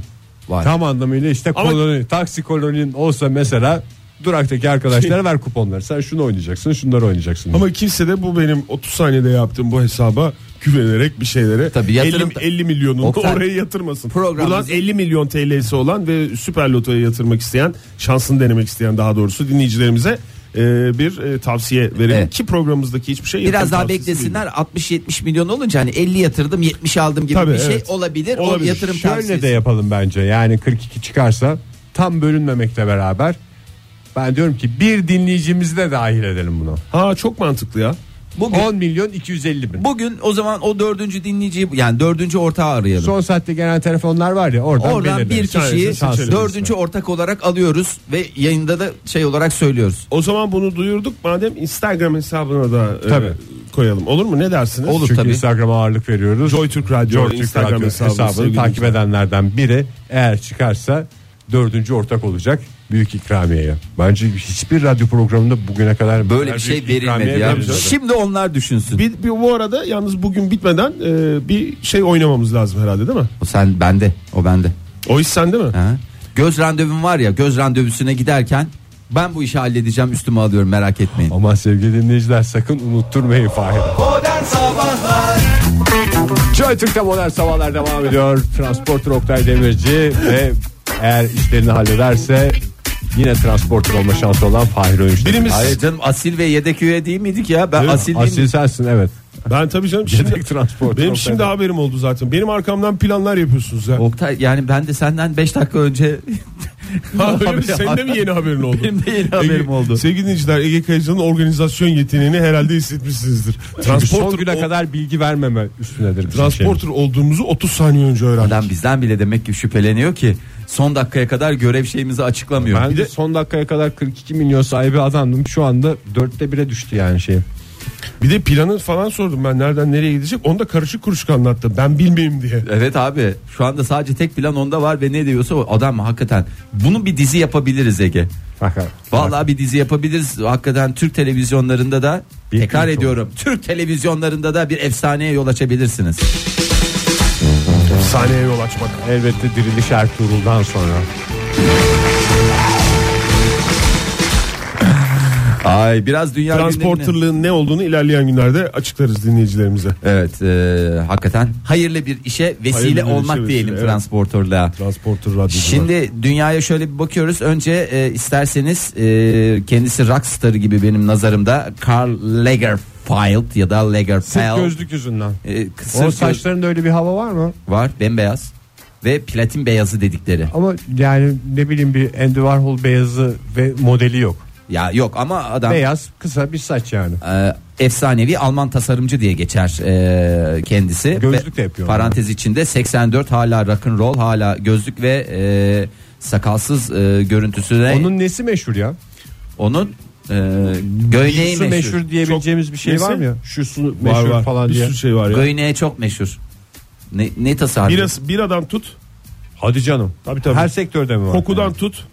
[SPEAKER 4] Var.
[SPEAKER 3] tam anlamıyla işte
[SPEAKER 5] Ama-
[SPEAKER 3] koloni, taksi kolonin olsa mesela duraktaki
[SPEAKER 4] Şey-
[SPEAKER 3] arkadaşlara ver kuponları. Sen şunu oynayacaksın, şunları oynayacaksın.
[SPEAKER 5] Ama kimse de bu benim 30 saniyede yaptığım bu hesaba güvenerek bir şeylere
[SPEAKER 4] Tabii yatırım-
[SPEAKER 5] 50, 50 milyonunu
[SPEAKER 4] Oktay,
[SPEAKER 5] oraya yatırmasın.
[SPEAKER 4] programımız-
[SPEAKER 5] Buradan 50 milyon TL'si olan ve süper lotoya yatırmak isteyen, şansını denemek isteyen daha doğrusu dinleyicilerimize e, bir e, tavsiye verelim
[SPEAKER 4] Evet.
[SPEAKER 5] ki programımızdaki hiçbir şey yatırım
[SPEAKER 4] Biraz daha
[SPEAKER 5] tavsiyesi değil.
[SPEAKER 4] beklesinler 60-70 milyon olunca hani 50 yatırdım 70 aldım gibi
[SPEAKER 5] Tabii,
[SPEAKER 4] bir şey
[SPEAKER 5] evet.
[SPEAKER 4] olabilir. O
[SPEAKER 5] Olabilir.
[SPEAKER 4] yatırım
[SPEAKER 3] Şöyle
[SPEAKER 4] tavsiyesi.
[SPEAKER 3] de yapalım bence. Yani 42 çıkarsa tam bölünmemekle beraber ben diyorum ki bir dinleyicimizi de dahil edelim bunu.
[SPEAKER 5] Ha çok mantıklı ya.
[SPEAKER 4] Bugün
[SPEAKER 3] 10 milyon 250 bin.
[SPEAKER 4] Bugün o zaman o dördüncü dinleyiciyi yani dördüncü ortağı arayalım.
[SPEAKER 3] Son saatte gelen telefonlar var ya oradan,
[SPEAKER 4] Oradan bir
[SPEAKER 3] belirleriz.
[SPEAKER 4] kişiyi
[SPEAKER 3] Tanesini seçelim.
[SPEAKER 4] dördüncü ortak olarak alıyoruz ve yayında da şey olarak söylüyoruz.
[SPEAKER 5] O zaman bunu duyurduk. Madem Instagram hesabına da e,
[SPEAKER 3] Tabii.
[SPEAKER 5] koyalım. Olur mu? Ne dersiniz?
[SPEAKER 4] Olur.
[SPEAKER 3] Çünkü
[SPEAKER 4] tabii.
[SPEAKER 3] Instagram'a ağırlık veriyoruz.
[SPEAKER 5] Joy Türk Radyo
[SPEAKER 3] Joy Türk
[SPEAKER 5] Instagram
[SPEAKER 3] Radyo
[SPEAKER 5] hesabı
[SPEAKER 3] hesabını
[SPEAKER 5] sevgili
[SPEAKER 3] takip
[SPEAKER 5] dinleyiciler.
[SPEAKER 3] edenlerden biri eğer çıkarsa dördüncü ortak olacak büyük ikramiyeye. Bence hiçbir radyo programında bugüne kadar
[SPEAKER 4] Böyle bir
[SPEAKER 3] büyük
[SPEAKER 4] şey
[SPEAKER 3] ikramiye
[SPEAKER 4] verilmedi ya.
[SPEAKER 3] verilmedi.
[SPEAKER 4] Şimdi onlar düşünsün.
[SPEAKER 5] Bir, bir bu arada yalnız bugün bitmeden e, bir şey oynamamız lazım herhalde değil mi?
[SPEAKER 4] O sen bende, o bende.
[SPEAKER 5] O iş sende mi?
[SPEAKER 4] Ha? Göz randevum var ya, göz randevusuna giderken ben bu işi halledeceğim, üstüme alıyorum merak etmeyin.
[SPEAKER 3] Aman sevgili dinleyiciler sakın unutturmayın Fahir.
[SPEAKER 2] Modern Sabahlar
[SPEAKER 3] Joy Türk'te modern sabahlar devam ediyor. Transporter Oktay Demirci ve eğer işlerini hallederse yine transporter olma şansı olan Fahir Öğünç.
[SPEAKER 5] Birimiz-
[SPEAKER 4] Hayır canım asil ve yedek üye değil miydik ya? Ben asil değil
[SPEAKER 3] Asil
[SPEAKER 4] miydim?
[SPEAKER 3] sensin evet.
[SPEAKER 5] Ben tabii canım şimdi
[SPEAKER 3] Yedek transporter.
[SPEAKER 5] benim
[SPEAKER 3] Oktay
[SPEAKER 5] şimdi
[SPEAKER 3] Demirci.
[SPEAKER 5] haberim oldu zaten. Benim arkamdan planlar yapıyorsunuz ya.
[SPEAKER 4] Oktay yani ben de senden 5 dakika önce <laughs>
[SPEAKER 5] Ha, öyle mi? Senin de mi yeni haberin oldu?
[SPEAKER 4] Benim de yeni
[SPEAKER 5] Ege-
[SPEAKER 4] haberim oldu.
[SPEAKER 5] Sevgili dinleyiciler Ege Kayıcı'nın organizasyon yeteneğini herhalde hissetmişsinizdir.
[SPEAKER 3] son güne
[SPEAKER 5] Transporter,
[SPEAKER 3] kadar bilgi vermeme üstünedir. bizim şeyimiz.
[SPEAKER 5] transporter olduğumuzu 30 saniye önce öğrendim.
[SPEAKER 4] Adam bizden bile demek ki şüpheleniyor ki son dakikaya kadar görev şeyimizi açıklamıyor.
[SPEAKER 3] Ben de son dakikaya kadar 42 milyon sahibi adamdım. Şu anda dörtte bire düştü yani şey.
[SPEAKER 5] Bir de planı falan sordum ben nereden nereye gidecek. Onu da karışık kuruşuk anlattı. Ben bilmeyeyim diye.
[SPEAKER 4] Evet abi şu anda sadece tek plan onda var ve ne diyorsa o adam hakikaten bunu bir dizi yapabiliriz Ege. Vallahi bir dizi yapabiliriz. Hakikaten Türk televizyonlarında da
[SPEAKER 3] Bir
[SPEAKER 4] tekrar
[SPEAKER 3] kültür.
[SPEAKER 4] ediyorum. Türk televizyonlarında da bir efsaneye yol açabilirsiniz.
[SPEAKER 5] Sahneye yol açmak.
[SPEAKER 3] Elbette diriliş Ertuğrul'dan sonra.
[SPEAKER 4] Ay biraz dünya gündemine-
[SPEAKER 5] Transporterlığın ne olduğunu ilerleyen günlerde açıklarız dinleyicilerimize.
[SPEAKER 4] Evet e, hakikaten hayırlı bir işe vesile
[SPEAKER 5] Hayırlı bir
[SPEAKER 4] olmak
[SPEAKER 5] işe
[SPEAKER 4] diyelim
[SPEAKER 5] vesile, evet.
[SPEAKER 4] transportörlüğe.
[SPEAKER 5] Transporter radyocular.
[SPEAKER 4] Şimdi dünyaya şöyle bir bakıyoruz. Önce e, isterseniz e, kendisi rockstarı gibi benim nazarımda Karl Lagerfeld ya da
[SPEAKER 3] Sırf
[SPEAKER 4] Lagerfeld.
[SPEAKER 3] gözlük yüzünden.
[SPEAKER 4] E,
[SPEAKER 3] O
[SPEAKER 4] sırf göz-
[SPEAKER 3] saçlarında öyle bir hava var mı?
[SPEAKER 4] var bembeyaz ve platin beyazı dedikleri.
[SPEAKER 3] Ama yani ne bileyim bir Andy Warhol beyazı ve modeli yok.
[SPEAKER 4] Ya yok ama adam
[SPEAKER 3] Beyaz kısa bir saç yani.
[SPEAKER 4] e, efsanevi Alman tasarımcı diye geçer e, kendisi.
[SPEAKER 3] Gözlük
[SPEAKER 4] Ve
[SPEAKER 3] de yapıyor.
[SPEAKER 4] Parantez içinde 84 hala rock and roll hala gözlük ve e, sakalsız e, görüntüsüne onun,
[SPEAKER 3] Onun nesi meşhur ya?
[SPEAKER 4] onun e, göyneği
[SPEAKER 3] Su
[SPEAKER 4] meşhur.
[SPEAKER 3] meşhur, diyebileceğimiz bir şey
[SPEAKER 5] Nesi?
[SPEAKER 3] var mı ya?
[SPEAKER 5] Şu su
[SPEAKER 3] Meşhur
[SPEAKER 5] var, var.
[SPEAKER 3] falan
[SPEAKER 5] bir
[SPEAKER 3] diye.
[SPEAKER 5] sürü şey var ya.
[SPEAKER 4] Göyneği çok meşhur. Ne, ne tasarım?
[SPEAKER 5] Biraz biradan tut.
[SPEAKER 3] Hadi canım.
[SPEAKER 5] Tabii tabii.
[SPEAKER 3] Her sektörde mi var?
[SPEAKER 5] kokudan tut.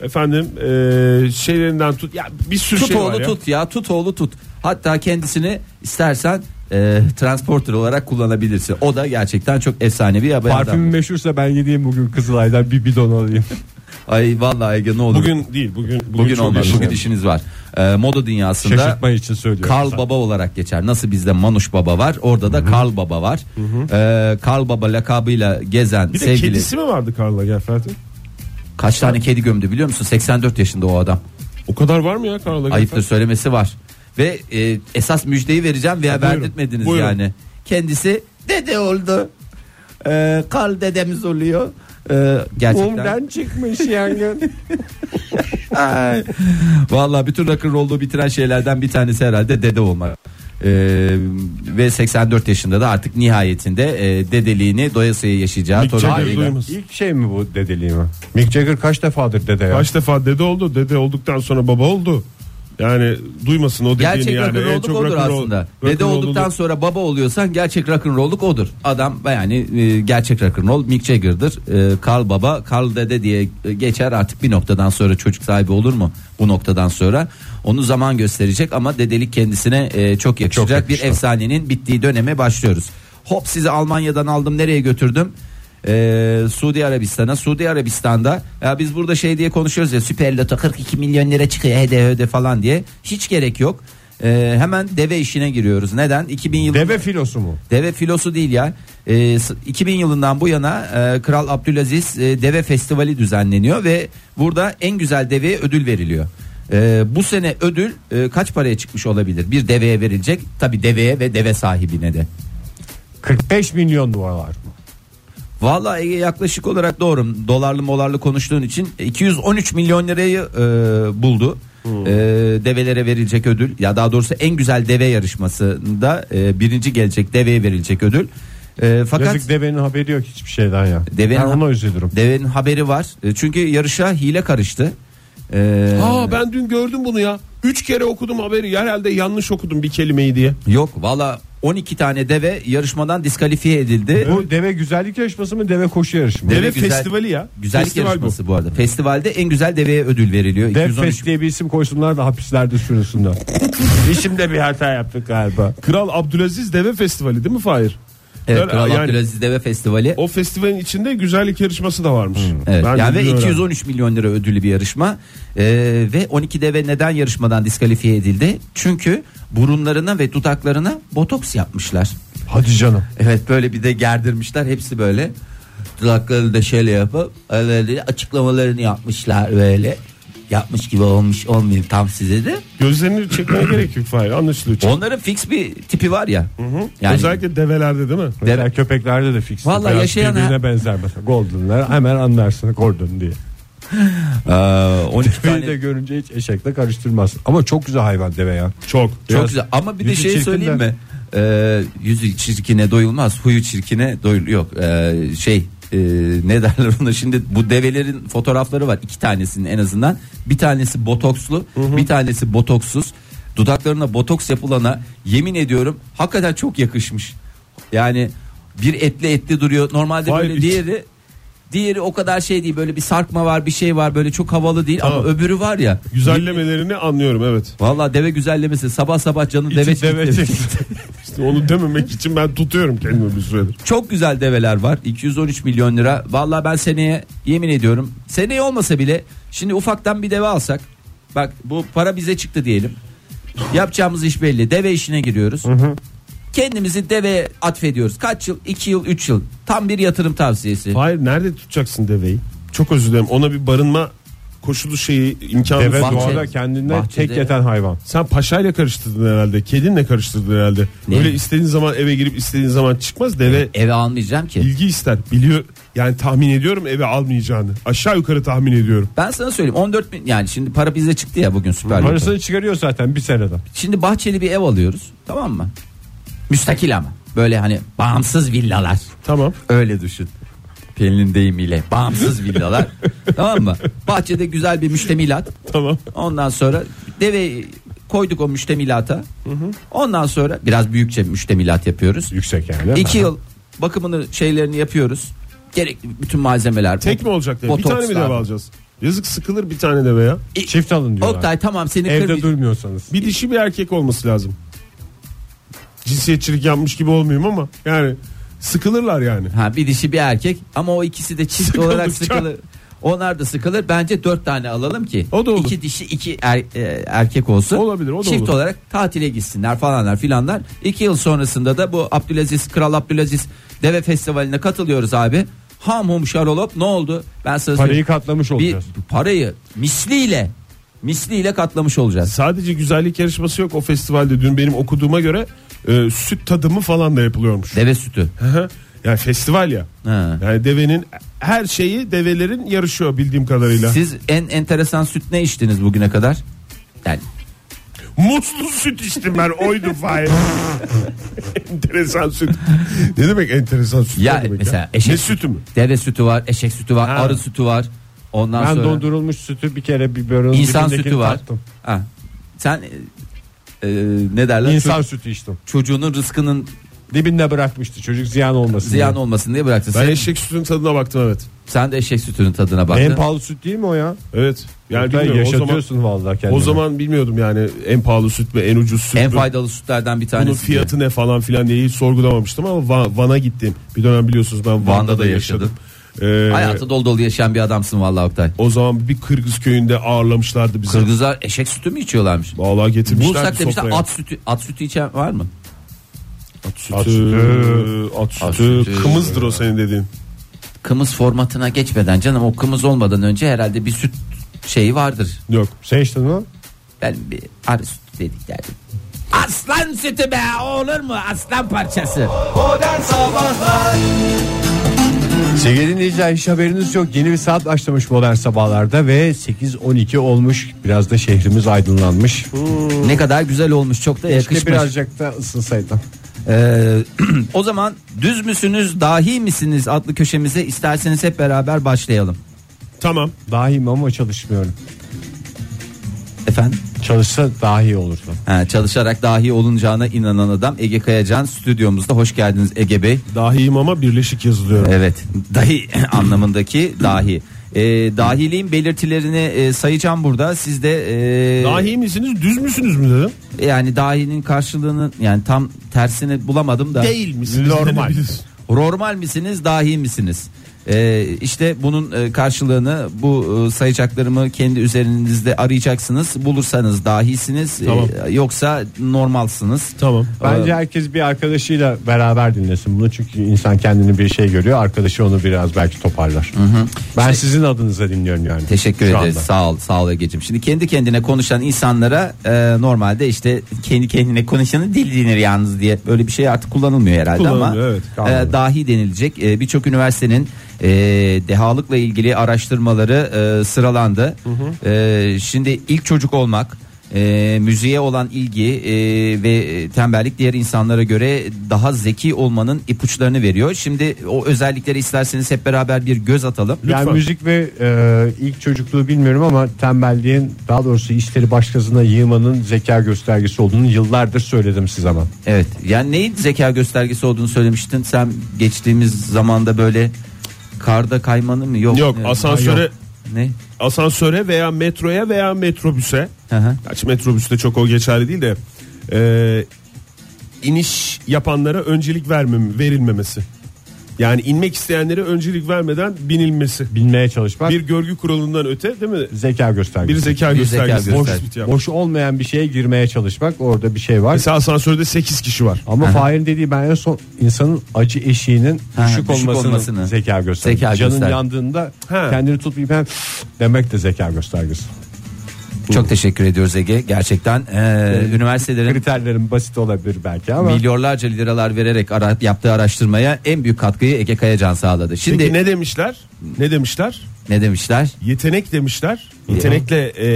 [SPEAKER 5] Efendim eee, şeylerinden tut. Ya bir sürü
[SPEAKER 4] tut
[SPEAKER 5] şey
[SPEAKER 4] oğlu
[SPEAKER 5] var ya.
[SPEAKER 4] tut ya tut oğlu tut. Hatta kendisini istersen e, transporter olarak kullanabilirsin. O da gerçekten çok efsanevi ya.
[SPEAKER 3] Parfümü meşhursa ben gideyim bugün Kızılay'dan bir bidon alayım.
[SPEAKER 4] Ay vallahi Ege ne olur.
[SPEAKER 5] Bugün değil bugün. Bugün,
[SPEAKER 4] Bugün
[SPEAKER 5] çok
[SPEAKER 4] olmaz.
[SPEAKER 5] yaşlı.
[SPEAKER 4] Bugün işiniz var. Ee, moda dünyasında
[SPEAKER 3] Şaşırtma için söylüyorum.
[SPEAKER 4] Karl
[SPEAKER 3] zaten.
[SPEAKER 4] Baba olarak geçer. Nasıl bizde Manuş Baba var, orada da Karl Baba var. Ee, Karl Baba lakabıyla gezen
[SPEAKER 5] Bir de
[SPEAKER 4] sevgili
[SPEAKER 5] kedisi mi vardı Karla Gerfert'in?
[SPEAKER 4] kaç tane kedi gömdü biliyor musun? 84 yaşında o adam.
[SPEAKER 5] O kadar var mı ya Karla Gerfert?
[SPEAKER 4] Ayıptır söylemesi var. Ve e, esas müjdeyi vereceğim ve
[SPEAKER 5] buyurun,
[SPEAKER 4] verdirtmediniz
[SPEAKER 5] buyurun.
[SPEAKER 4] yani. Kendisi dede oldu. Ee, Karl dedemiz oluyor. Ee, gerçekten.
[SPEAKER 3] Mumdan çıkmış yangın.
[SPEAKER 4] Ay. Vallahi bütün rock'n'roll'u bitiren şeylerden bir tanesi herhalde dede olmak. Ee, ve 84 yaşında da artık nihayetinde e, dedeliğini doyasıya yaşayacağı
[SPEAKER 5] Mick Jagger
[SPEAKER 4] torunuyla.
[SPEAKER 5] duymasın.
[SPEAKER 3] İlk şey mi bu dedeliğime? Mick Jagger kaç defadır dede ya?
[SPEAKER 5] Kaç defa dede oldu. Dede olduktan sonra baba oldu. Yani duymasın o dediğini
[SPEAKER 4] Gerçek
[SPEAKER 5] yani. En
[SPEAKER 4] rock'n'roll'luk
[SPEAKER 5] çok
[SPEAKER 4] odur
[SPEAKER 5] rock'n'roll-
[SPEAKER 4] aslında. Dede
[SPEAKER 5] rock'n'roll'luk-
[SPEAKER 4] olduktan sonra baba oluyorsan gerçek rock'n'roll'luk odur. Adam yani e, gerçek rock'n'roll Mick Jagger'dır. E, Karl Baba, Karl Dede diye e, geçer artık bir noktadan sonra çocuk sahibi olur mu? Bu noktadan sonra onu zaman gösterecek ama dedelik kendisine e, çok yakışacak bir
[SPEAKER 3] yakıştı.
[SPEAKER 4] efsanenin bittiği döneme başlıyoruz. Hop sizi Almanya'dan aldım nereye götürdüm? E, Suudi Arabistan'a Suudi Arabistan'da ya biz burada şey diye konuşuyoruz ya Süper Loto 42 milyon lira çıkıyor hede hede falan diye hiç gerek yok E, hemen deve işine giriyoruz neden 2000 yılında
[SPEAKER 3] Deve filosu mu?
[SPEAKER 4] Deve filosu değil ya. Ee, s- 2000 yılından bu yana e, Kral Abdülaziz e, Deve Festivali düzenleniyor ve burada en güzel deveye ödül veriliyor. Ee, bu sene ödül e, kaç paraya çıkmış olabilir? Bir deveye verilecek. Tabi deveye ve deve sahibine de.
[SPEAKER 3] 45 milyon dolar mı?
[SPEAKER 4] Vallahi Ege, yaklaşık olarak doğru. Dolarlı molarlı konuştuğun için 213 milyon lirayı e, buldu.
[SPEAKER 3] Hmm.
[SPEAKER 4] E, develere verilecek ödül ya daha doğrusu en güzel deve yarışmasında e, birinci gelecek deveye verilecek ödül. E, fakat
[SPEAKER 3] Yazık devenin haberi yok hiçbir şeyden ya.
[SPEAKER 4] Devenin
[SPEAKER 3] ben ona
[SPEAKER 4] ha-
[SPEAKER 3] üzülürüm.
[SPEAKER 4] Devenin haberi var. E, Çünkü yarışa hile karıştı. Ee,
[SPEAKER 5] Aa ben dün gördüm bunu ya. Üç kere okudum haberi. Herhalde yanlış okudum bir kelimeyi diye.
[SPEAKER 4] Yok valla 12 tane deve yarışmadan diskalifiye edildi.
[SPEAKER 3] Bu deve güzellik yarışması mı deve koşu yarışması mı?
[SPEAKER 5] Deve,
[SPEAKER 4] güzel-
[SPEAKER 5] festivali ya.
[SPEAKER 4] Güzellik
[SPEAKER 5] Festival
[SPEAKER 4] yarışması bu. arada. Festivalde en güzel deveye ödül veriliyor.
[SPEAKER 3] Dev
[SPEAKER 4] 213
[SPEAKER 3] Fest diye bir isim koysunlar da hapislerde sürünsünler. <laughs> İşimde bir hata yaptık galiba.
[SPEAKER 5] bu. Kral Abdülaziz Deve Festivali değil mi Fahir?
[SPEAKER 4] Evet,
[SPEAKER 5] Yani-
[SPEAKER 4] Kral
[SPEAKER 5] yani
[SPEAKER 4] Abdülaziz Deve Festivali.
[SPEAKER 5] O festivalin içinde güzellik yarışması da varmış.
[SPEAKER 4] Hmm, Evet.
[SPEAKER 5] Ben
[SPEAKER 4] yani
[SPEAKER 5] de
[SPEAKER 4] ve
[SPEAKER 5] bilmiyorum.
[SPEAKER 4] 213 milyon lira ödüllü bir yarışma Ee, ve 12 deve neden yarışmadan diskalifiye edildi? Çünkü burunlarına ve dudaklarına botoks yapmışlar.
[SPEAKER 3] Hadi <clears throat> canım.
[SPEAKER 4] Evet böyle bir de gerdirmişler hepsi böyle. Dudakları da şöyle yapıp öyle açıklamalarını yapmışlar böyle. Yapmış gibi olmuş olmayayım tam size de.
[SPEAKER 5] Gözlerini çekmeye gerek yok Fahir anlaşılıyor.
[SPEAKER 4] Onların fix bir tipi var ya. Yani
[SPEAKER 5] Özellikle develerde değil mi?
[SPEAKER 4] Deve-
[SPEAKER 3] Mesela köpeklerde de fix.
[SPEAKER 4] Vallahi
[SPEAKER 3] Biraz
[SPEAKER 4] yaşayan
[SPEAKER 3] birbirine benzer mesela. Golden'lar hemen anlarsın
[SPEAKER 4] <laughs>
[SPEAKER 3] Golden diye.
[SPEAKER 4] eee, 12
[SPEAKER 3] Deveyi de
[SPEAKER 4] Ee, tane
[SPEAKER 3] görünce hiç eşekle karıştırmaz. Ama çok güzel hayvan deve ya.
[SPEAKER 4] çok
[SPEAKER 5] Çok.
[SPEAKER 3] Biraz
[SPEAKER 4] güzel ama bir de
[SPEAKER 3] yüzü
[SPEAKER 4] şey
[SPEAKER 3] çirkin
[SPEAKER 4] söyleyeyim
[SPEAKER 3] de.
[SPEAKER 4] mi? Eee, yüzü çirkine doyulmaz, huyu çirkine doyul yok. eee, şey eee, ne derler ona şimdi bu develerin fotoğrafları var iki tanesinin en azından. Bir tanesi botokslu, bir tanesi botoksuz. Dudaklarına botoks yapılana yemin ediyorum hakikaten çok yakışmış. Yani bir etli etli duruyor. Normalde
[SPEAKER 5] Vay
[SPEAKER 4] böyle
[SPEAKER 5] be.
[SPEAKER 4] diğeri diğeri o kadar şey değil. Böyle bir sarkma var, bir şey var. Böyle çok havalı değil ama
[SPEAKER 5] Tamam.
[SPEAKER 4] öbürü var ya.
[SPEAKER 5] Güzellemelerini anlıyorum evet.
[SPEAKER 4] Vallahi deve güzellemesi sabah sabah canım
[SPEAKER 3] İçi
[SPEAKER 4] deve,
[SPEAKER 3] deve
[SPEAKER 4] çekti.
[SPEAKER 3] çekti.
[SPEAKER 5] İşte onu dememek için ben tutuyorum kendimi bir süredir.
[SPEAKER 4] <laughs> Çok güzel develer var. 213 milyon lira. Vallahi ben seneye yemin ediyorum. Seneye olmasa bile şimdi ufaktan bir deve alsak Bak bu para bize çıktı diyelim. Yapacağımız iş belli. Deve işine giriyoruz. Kendimizi deve atfediyoruz. Kaç yıl? 2 yıl, 3 yıl. Tam bir yatırım tavsiyesi.
[SPEAKER 5] Hayır nerede tutacaksın deveyi? Çok özür dilerim. Ona bir barınma koşulu şeyi imkanı.
[SPEAKER 3] Deve
[SPEAKER 4] Bahçe-
[SPEAKER 3] doğada kendinden
[SPEAKER 4] bahçede-
[SPEAKER 3] tek yeten hayvan.
[SPEAKER 5] Sen paşayla karıştırdın herhalde. Kedinle karıştırdın herhalde.
[SPEAKER 4] Ne?
[SPEAKER 5] Öyle istediğin zaman eve girip istediğin zaman çıkmaz. Deve
[SPEAKER 4] Eve almayacağım ki.
[SPEAKER 5] ilgi ister. Biliyor yani tahmin ediyorum eve almayacağını. Aşağı yukarı tahmin ediyorum.
[SPEAKER 4] Ben sana söyleyeyim 14 bin yani şimdi para bize çıktı ya bugün süper. Lig'de.
[SPEAKER 3] Parasını çıkarıyor zaten bir seneden.
[SPEAKER 4] Şimdi bahçeli bir ev alıyoruz tamam mı? Müstakil ama böyle hani bağımsız villalar.
[SPEAKER 5] Tamam.
[SPEAKER 4] Öyle düşün. Pelin'in deyimiyle bağımsız
[SPEAKER 5] <laughs>
[SPEAKER 4] villalar. tamam mı? Bahçede güzel bir müştemilat.
[SPEAKER 5] Tamam.
[SPEAKER 4] Ondan sonra deve koyduk o müştemilata. Ondan sonra biraz büyükçe müştemilat yapıyoruz.
[SPEAKER 3] Yüksek yani.
[SPEAKER 4] İki yıl bakımını şeylerini yapıyoruz. Gerekli bütün malzemeler.
[SPEAKER 5] Tek mi olacak deve? Bir tane mi
[SPEAKER 4] botokslar.
[SPEAKER 5] deve alacağız? Yazık sıkılır bir tane deve ya.
[SPEAKER 3] Çift alın diyorlar.
[SPEAKER 4] Oktay tamam seni
[SPEAKER 3] Evde
[SPEAKER 4] kır-
[SPEAKER 3] durmuyorsanız.
[SPEAKER 5] Bir dişi bir erkek olması lazım. Cinsiyetçilik yapmış gibi olmayayım ama yani sıkılırlar yani.
[SPEAKER 4] Ha bir dişi bir erkek ama o ikisi de çift
[SPEAKER 5] Sıkıldıkça.
[SPEAKER 4] olarak sıkılır. Onlar da sıkılır. Bence dört tane alalım ki.
[SPEAKER 5] O da olur.
[SPEAKER 4] İki dişi iki er- e, erkek olsun.
[SPEAKER 5] Olabilir, o da
[SPEAKER 4] Çift
[SPEAKER 5] olur.
[SPEAKER 4] olarak tatile gitsinler falanlar filanlar. İki yıl sonrasında da bu Abdülaziz Kral Abdülaziz Deve Festivali'ne katılıyoruz abi. Ham hum şarolop ne oldu? Ben sana
[SPEAKER 3] Parayı
[SPEAKER 4] söyleyeyim.
[SPEAKER 3] katlamış
[SPEAKER 4] bir
[SPEAKER 3] olacağız.
[SPEAKER 4] parayı misliyle misliyle katlamış olacağız.
[SPEAKER 5] Sadece güzellik yarışması yok o festivalde. Dün benim okuduğuma göre e, süt tadımı falan da yapılıyormuş.
[SPEAKER 4] Deve sütü.
[SPEAKER 5] yani festival ya.
[SPEAKER 4] Ha.
[SPEAKER 5] Yani devenin her şeyi develerin yarışıyor bildiğim kadarıyla.
[SPEAKER 4] Siz en enteresan süt ne içtiniz bugüne kadar? Yani
[SPEAKER 5] Mutlu süt içtim ben oydu Fahir. <laughs> enteresan süt. Ne demek enteresan süt?
[SPEAKER 4] Ya
[SPEAKER 5] ne demek
[SPEAKER 4] mesela
[SPEAKER 5] Ne
[SPEAKER 4] eşek
[SPEAKER 5] sütü mü?
[SPEAKER 4] Deve sütü var, eşek sütü var, arı sütü var. Ondan
[SPEAKER 3] Ben
[SPEAKER 4] sonra
[SPEAKER 3] dondurulmuş sütü bir kere bir böreğin
[SPEAKER 4] insan
[SPEAKER 3] dibindekini
[SPEAKER 4] sütü var.
[SPEAKER 3] tattım.
[SPEAKER 4] Ha. Sen e, e, ne derler?
[SPEAKER 3] İnsan
[SPEAKER 4] Ço-
[SPEAKER 3] sütü içtim.
[SPEAKER 4] çocuğunun rızkının
[SPEAKER 3] Dibinde bırakmıştı çocuk ziyan olmasın.
[SPEAKER 4] ziyan
[SPEAKER 3] diye.
[SPEAKER 4] olmasın diye bıraktın.
[SPEAKER 5] Ben
[SPEAKER 4] sen,
[SPEAKER 5] eşek sütünün tadına baktım evet.
[SPEAKER 4] sen de eşek sütünün tadına baktın.
[SPEAKER 3] En pahalı süt değil mi o ya?
[SPEAKER 5] Evet. Yani
[SPEAKER 3] Oktay,
[SPEAKER 5] bilmiyorum, o zaman,
[SPEAKER 3] yaşatıyorsun vallahi kendini.
[SPEAKER 5] o zaman bilmiyordum yani en pahalı süt mü en ucuz süt
[SPEAKER 4] En
[SPEAKER 5] mü?
[SPEAKER 4] faydalı sütlerden bir tanesi.
[SPEAKER 5] Bunun fiyatı ne falan filan diye hiç sorgulamamıştım ama Va- Van'a gittim. Bir dönem biliyorsunuz ben Van'da,
[SPEAKER 4] Van'da da
[SPEAKER 5] da yaşadım. Ee,
[SPEAKER 4] Hayatı dolu dolu yaşayan bir adamsın vallahi Oktay.
[SPEAKER 5] o zaman bir Kırgız köyünde ağırlamışlardı bizi.
[SPEAKER 4] Kırgızlar eşek sütü mü içiyorlarmış?
[SPEAKER 5] Vallahi getirmişlerdi
[SPEAKER 4] Bulsak demişler
[SPEAKER 5] sofraya.
[SPEAKER 4] at sütü. At sütü içen var mı?
[SPEAKER 5] At sütü,
[SPEAKER 3] At sütü.
[SPEAKER 5] at sütü,
[SPEAKER 4] At sütü.
[SPEAKER 5] kımızdır o senin dediğin.
[SPEAKER 4] Kımız formatına geçmeden canım o kımız olmadan önce herhalde bir süt şeyi vardır.
[SPEAKER 3] Yok. Sen içtin mi?
[SPEAKER 4] Ben bir arı sütü dedik derdim. Aslan sütü be o olur mu? Aslan parçası.
[SPEAKER 2] Modern Sabahlar
[SPEAKER 3] Sevgili dinleyiciler hiç haberiniz yok. Yeni bir saat başlamış modern sabahlarda ve 8.12 olmuş. Biraz da şehrimiz aydınlanmış.
[SPEAKER 4] Ne kadar güzel olmuş çok da
[SPEAKER 3] Keşke
[SPEAKER 4] yakışmış.
[SPEAKER 3] birazcık da ısınsaydım.
[SPEAKER 4] Ee, <clears throat> o zaman düz müsünüz dahi misiniz adlı köşemize isterseniz hep beraber başlayalım.
[SPEAKER 5] Tamam.
[SPEAKER 3] Dahiyim ama çalışmıyorum.
[SPEAKER 4] Efendim?
[SPEAKER 3] Çalışsa dahi olurdum.
[SPEAKER 4] Ha, çalışarak dahi olunacağına inanan adam Ege Kayacan stüdyomuzda. Hoş geldiniz Ege Bey.
[SPEAKER 5] Dahiyim ama birleşik yazılıyor.
[SPEAKER 4] Evet dahi <clears throat> anlamındaki dahi. Ee, dahiliğin belirtilerini e, sayacağım burada. Siz de e,
[SPEAKER 5] Dahi misiniz düz müsünüz mü dedim.
[SPEAKER 4] yani dahinin karşılığını yani tam tersini bulamadım da.
[SPEAKER 5] Değil misiniz? Normal.
[SPEAKER 4] Normal misiniz dahi misiniz? Ee, işte bunun e, karşılığını bu e, sayacaklarımı kendi üzerinizde arayacaksınız. Bulursanız dahisiniz e,
[SPEAKER 5] Tamam.
[SPEAKER 4] yoksa normalsınız.
[SPEAKER 5] tamam.
[SPEAKER 3] Bence herkes bir arkadaşıyla beraber dinlesin bunu çünkü insan kendini bir şey görüyor arkadaşı onu biraz belki toparlar. Ben sizin adınıza dinliyorum yani.
[SPEAKER 4] Teşekkür
[SPEAKER 3] Şu
[SPEAKER 4] ederiz.
[SPEAKER 3] anda.
[SPEAKER 4] Sağ ol. Sağ ol Ege'cim. Şimdi kendi kendine konuşan insanlara e, normalde işte kendi kendine konuşanı dil denir yalnız diye böyle bir şey artık kullanılmıyor herhalde ama
[SPEAKER 5] Kullanılmıyor, evet,
[SPEAKER 4] e,
[SPEAKER 3] kalmadı.
[SPEAKER 4] dahi denilecek. E, Birçok üniversitenin e, dehalıkla ilgili araştırmaları e, sıralandı. E, şimdi ilk çocuk olmak e, müziğe olan ilgi e, ve tembellik diğer insanlara göre daha zeki olmanın ipuçlarını veriyor. Şimdi o özellikleri isterseniz hep beraber bir göz atalım.
[SPEAKER 3] Yani
[SPEAKER 5] Lütfen.
[SPEAKER 3] müzik ve e, ilk çocukluğu bilmiyorum ama tembelliğin daha doğrusu işleri başkasına yığmanın zeka göstergesi olduğunu yıllardır söyledim size ama.
[SPEAKER 4] Evet. Yani neyin zeka göstergesi olduğunu söylemiştin. Sen geçtiğimiz zamanda böyle karda kaymanı mı? Yok.
[SPEAKER 5] Yok
[SPEAKER 4] Ne?
[SPEAKER 5] asansöre
[SPEAKER 4] Ne?
[SPEAKER 5] asansöre veya metroya veya metrobüse.
[SPEAKER 4] Hı hı.
[SPEAKER 5] Gerçi metrobüste çok o geçerli değil de e, iniş yapanlara öncelik vermem verilmemesi. Yani inmek isteyenlere öncelik vermeden binilmesi.
[SPEAKER 3] Bilmeye çalışmak.
[SPEAKER 5] Bir
[SPEAKER 3] Bir
[SPEAKER 5] görgü kuralından öte değil mi?
[SPEAKER 3] zeka göstergesi.
[SPEAKER 5] Bir zeka
[SPEAKER 4] Bir
[SPEAKER 5] göstergesi.
[SPEAKER 4] zeka
[SPEAKER 5] Boş,
[SPEAKER 4] göstergesi.
[SPEAKER 5] bit yapmak.
[SPEAKER 3] Boş olmayan bir şeye girmeye çalışmak. Orada bir şey var.
[SPEAKER 5] Mesela asansörde 8 kişi var.
[SPEAKER 3] Ama Fahir'in dediği ben en son insanın acı eşiğinin
[SPEAKER 4] Ha,
[SPEAKER 3] düşük,
[SPEAKER 4] düşük
[SPEAKER 3] olmasının
[SPEAKER 4] olmasını.
[SPEAKER 3] zeka göstergesi.
[SPEAKER 4] Zeka
[SPEAKER 3] Canın
[SPEAKER 4] göstergesi.
[SPEAKER 3] yandığında
[SPEAKER 5] Ha.
[SPEAKER 3] kendini tutmayıp hem demek de zeka göstergesi.
[SPEAKER 4] Çok teşekkür ediyoruz Ege. Gerçekten e, üniversitelerin
[SPEAKER 3] Kriterlerin basit olabilir belki ama
[SPEAKER 4] milyonlarca liralar vererek ara- yaptığı araştırmaya en büyük katkıyı Ege Kayacan sağladı. Şimdi
[SPEAKER 5] Peki
[SPEAKER 4] ne,
[SPEAKER 5] ne demişler? Ne demişler?
[SPEAKER 4] demişler?
[SPEAKER 5] Yetenek demişler. Yetenekle e,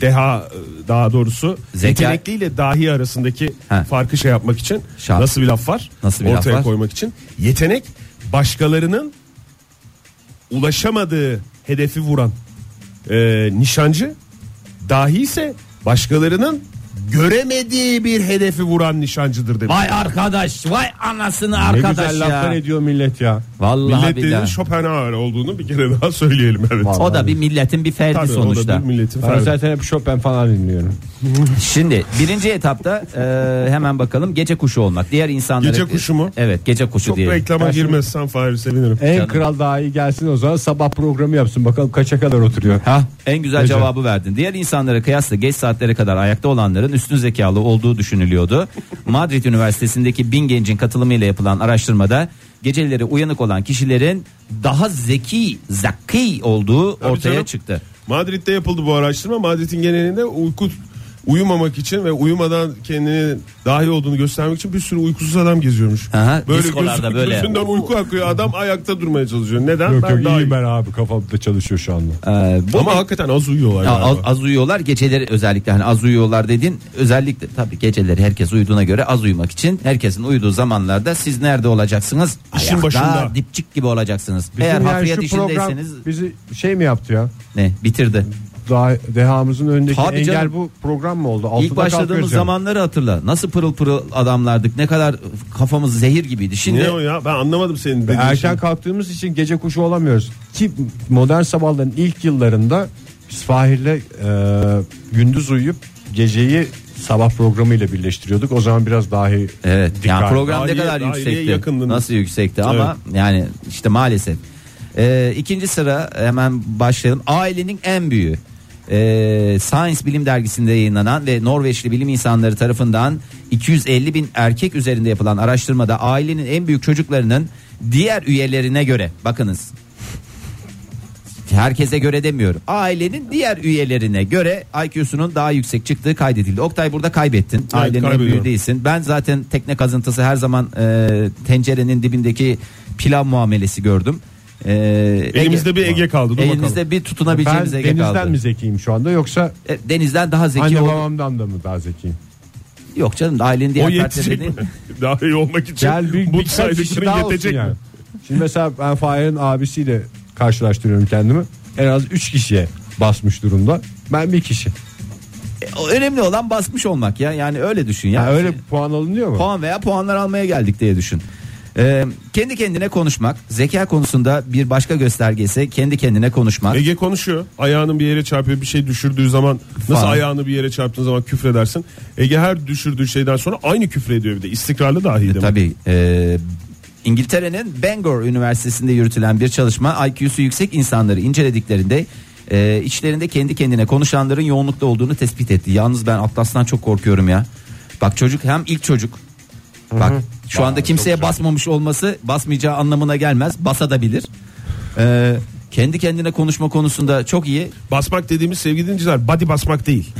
[SPEAKER 5] deha e, daha doğrusu
[SPEAKER 4] Zeka-
[SPEAKER 5] yetenekliyle dahi arasındaki
[SPEAKER 4] Ha.
[SPEAKER 5] farkı şey yapmak için
[SPEAKER 4] Şa-
[SPEAKER 5] nasıl bir laf var?
[SPEAKER 4] Nasıl bir
[SPEAKER 5] Ortaya
[SPEAKER 4] laf var?
[SPEAKER 5] koymak için. Yetenek başkalarının ulaşamadığı hedefi vuran e, nişancı dahi ise başkalarının göremediği bir hedefi vuran nişancıdır demiş.
[SPEAKER 4] Vay arkadaş, vay anasını
[SPEAKER 3] ne
[SPEAKER 4] arkadaş ya.
[SPEAKER 3] güzel laflar ediyor millet ya.
[SPEAKER 4] Vallahi
[SPEAKER 5] Millet dediğin
[SPEAKER 4] billahi.
[SPEAKER 5] Schopenhauer olduğunu bir kere daha söyleyelim evet.
[SPEAKER 3] Vallahi.
[SPEAKER 4] O da bir milletin bir ferdi
[SPEAKER 5] Tabii, o da
[SPEAKER 4] sonuçta.
[SPEAKER 5] bir milletin
[SPEAKER 3] Ben
[SPEAKER 5] ferdi.
[SPEAKER 3] zaten hep Chopin falan dinliyorum.
[SPEAKER 4] Şimdi birinci etapta e, hemen bakalım gece kuşu olmak. Diğer insanlara
[SPEAKER 5] Gece kuşu mu?
[SPEAKER 4] Evet, gece kuşu
[SPEAKER 5] Çok
[SPEAKER 4] diyelim.
[SPEAKER 5] reklama girmezsen Fahri sevinirim.
[SPEAKER 3] En
[SPEAKER 4] Canım.
[SPEAKER 3] kral daha iyi gelsin o zaman sabah programı yapsın bakalım kaça kadar oturuyor.
[SPEAKER 4] Ha, en güzel cevabı verdin. Diğer insanlara kıyasla geç saatlere kadar ayakta olanların üstün zekalı olduğu düşünülüyordu. Madrid Üniversitesi'ndeki bin gencin katılımıyla yapılan araştırmada geceleri uyanık olan kişilerin daha zeki, zeki olduğu ortaya
[SPEAKER 5] canım.
[SPEAKER 4] çıktı.
[SPEAKER 5] Madrid'de yapıldı bu araştırma. Madrid'in genelinde uyku uyumamak için ve uyumadan kendini dahi olduğunu göstermek için bir sürü uykusuz adam geziyormuş.
[SPEAKER 4] Aha, diskolarda böyle.
[SPEAKER 5] Gözünden uyku akıyor adam ayakta durmaya çalışıyor. Neden?
[SPEAKER 3] Yok
[SPEAKER 5] ben
[SPEAKER 3] yok
[SPEAKER 5] daha
[SPEAKER 3] iyiyim
[SPEAKER 5] iyiyim.
[SPEAKER 3] ben abi kafamda çalışıyor şu anda.
[SPEAKER 4] Ee, bu
[SPEAKER 5] Ama hakikaten az uyuyorlar.
[SPEAKER 4] Ya,
[SPEAKER 5] galiba.
[SPEAKER 4] az, az uyuyorlar geceleri özellikle hani az uyuyorlar dedin özellikle tabii geceleri herkes uyuduğuna göre az uyumak için herkesin uyuduğu zamanlarda siz nerede olacaksınız?
[SPEAKER 5] İşin
[SPEAKER 4] Ayakta,
[SPEAKER 5] başında.
[SPEAKER 4] dipçik gibi olacaksınız.
[SPEAKER 3] Bizim
[SPEAKER 4] Eğer
[SPEAKER 3] yani
[SPEAKER 4] hafriyat
[SPEAKER 3] şu program
[SPEAKER 4] işindeyseniz
[SPEAKER 3] bizi şey mi yaptı ya?
[SPEAKER 4] ne bitirdi.
[SPEAKER 3] Daha dehamızın önündeki
[SPEAKER 4] Tabii
[SPEAKER 3] engel
[SPEAKER 4] canım.
[SPEAKER 3] bu program mı oldu?
[SPEAKER 4] İlk
[SPEAKER 3] Altıda
[SPEAKER 4] başladığımız
[SPEAKER 3] kalkıyoruz yani.
[SPEAKER 4] zamanları hatırla. Nasıl pırıl pırıl adamlardık. Ne kadar kafamız zehir gibiydi. Şimdi
[SPEAKER 5] Ne o ya? Ben anlamadım senin dediğin
[SPEAKER 3] Erken
[SPEAKER 5] şeyi.
[SPEAKER 3] kalktığımız için gece kuşu olamıyoruz. Ki modern sabahların ilk yıllarında biz Fahir'le e, gündüz uyuyup geceyi sabah programıyla birleştiriyorduk. O zaman biraz dahi
[SPEAKER 4] Evet.
[SPEAKER 3] dikkat-
[SPEAKER 4] Yani program ne
[SPEAKER 5] Dahiliye-
[SPEAKER 4] kadar
[SPEAKER 5] dahiliye
[SPEAKER 4] yüksekti.
[SPEAKER 5] yakındınız.
[SPEAKER 4] Nasıl yüksekti ama yani işte maalesef. Ee, ikinci sıra hemen başlayalım. Ailenin en büyüğü. Ee, Science Bilim Dergisi'nde yayınlanan ve Norveçli bilim insanları tarafından 250 bin erkek üzerinde yapılan araştırmada ailenin en büyük çocuklarının diğer üyelerine göre bakınız herkese göre demiyorum. Ailenin diğer üyelerine göre IQ'sunun daha yüksek çıktığı kaydedildi. Oktay burada kaybettin. Ailenin en büyüğü
[SPEAKER 5] kaybediyorum.
[SPEAKER 4] değilsin. Ben zaten tekne kazıntısı her zaman e, tencerenin dibindeki pilav muamelesi gördüm. E,
[SPEAKER 5] Elimizde bir Ege kaldı, dur
[SPEAKER 4] Elimizde
[SPEAKER 5] bakalım.
[SPEAKER 4] bir
[SPEAKER 3] Ben
[SPEAKER 4] tutunabileceğimiz Ege
[SPEAKER 3] denizden
[SPEAKER 4] kaldı.
[SPEAKER 3] mi zekiyim şu anda yoksa
[SPEAKER 4] E, denizden daha zeki
[SPEAKER 3] anne
[SPEAKER 4] ol-
[SPEAKER 3] babamdan da mı daha zekiyim?
[SPEAKER 4] Yok canım ailenin diğer
[SPEAKER 5] O yetecek mi?
[SPEAKER 4] fertlerinin-
[SPEAKER 5] <laughs> daha iyi olmak için
[SPEAKER 3] Gel bir,
[SPEAKER 5] bu
[SPEAKER 3] birkaç kişi
[SPEAKER 5] saydıkların
[SPEAKER 3] daha olsun
[SPEAKER 5] yetecek
[SPEAKER 3] yani.
[SPEAKER 5] mi?
[SPEAKER 3] Şimdi mesela ben Fahir'in abisiyle karşılaştırıyorum kendimi. En az 3 kişiye basmış durumda. Ben bir kişi.
[SPEAKER 4] E, o önemli olan basmış olmak ya. Yani öyle düşün ya.
[SPEAKER 3] Yani öyle puan alınıyor mu?
[SPEAKER 4] Puan veya puanlar almaya geldik diye düşün. Ee, kendi kendine konuşmak. Zeka konusunda bir başka göstergesi kendi kendine konuşmak.
[SPEAKER 5] Ege konuşuyor. Ayağının bir yere çarpıyor bir şey düşürdüğü zaman nasıl
[SPEAKER 4] Falan.
[SPEAKER 5] ayağını bir yere çarptığın zaman küfredersin. Ege her düşürdüğü şeyden sonra aynı küfür ediyor bir de. İstikrarlı dahi demek.
[SPEAKER 4] Tabii e, İngiltere'nin Bangor Üniversitesi'nde yürütülen bir çalışma IQ'su yüksek insanları incelediklerinde e, içlerinde kendi kendine konuşanların yoğunlukta olduğunu tespit etti. Yalnız ben Atlas'tan çok korkuyorum ya. Bak çocuk hem ilk çocuk. Bak şu anda kimseye basmamış olması basmayacağı anlamına gelmez. Basa da bilir. E, kendi kendine konuşma konusunda çok iyi.
[SPEAKER 5] Basmak dediğimiz sevgili dinleyiciler body
[SPEAKER 4] <laughs>
[SPEAKER 5] basmak değil.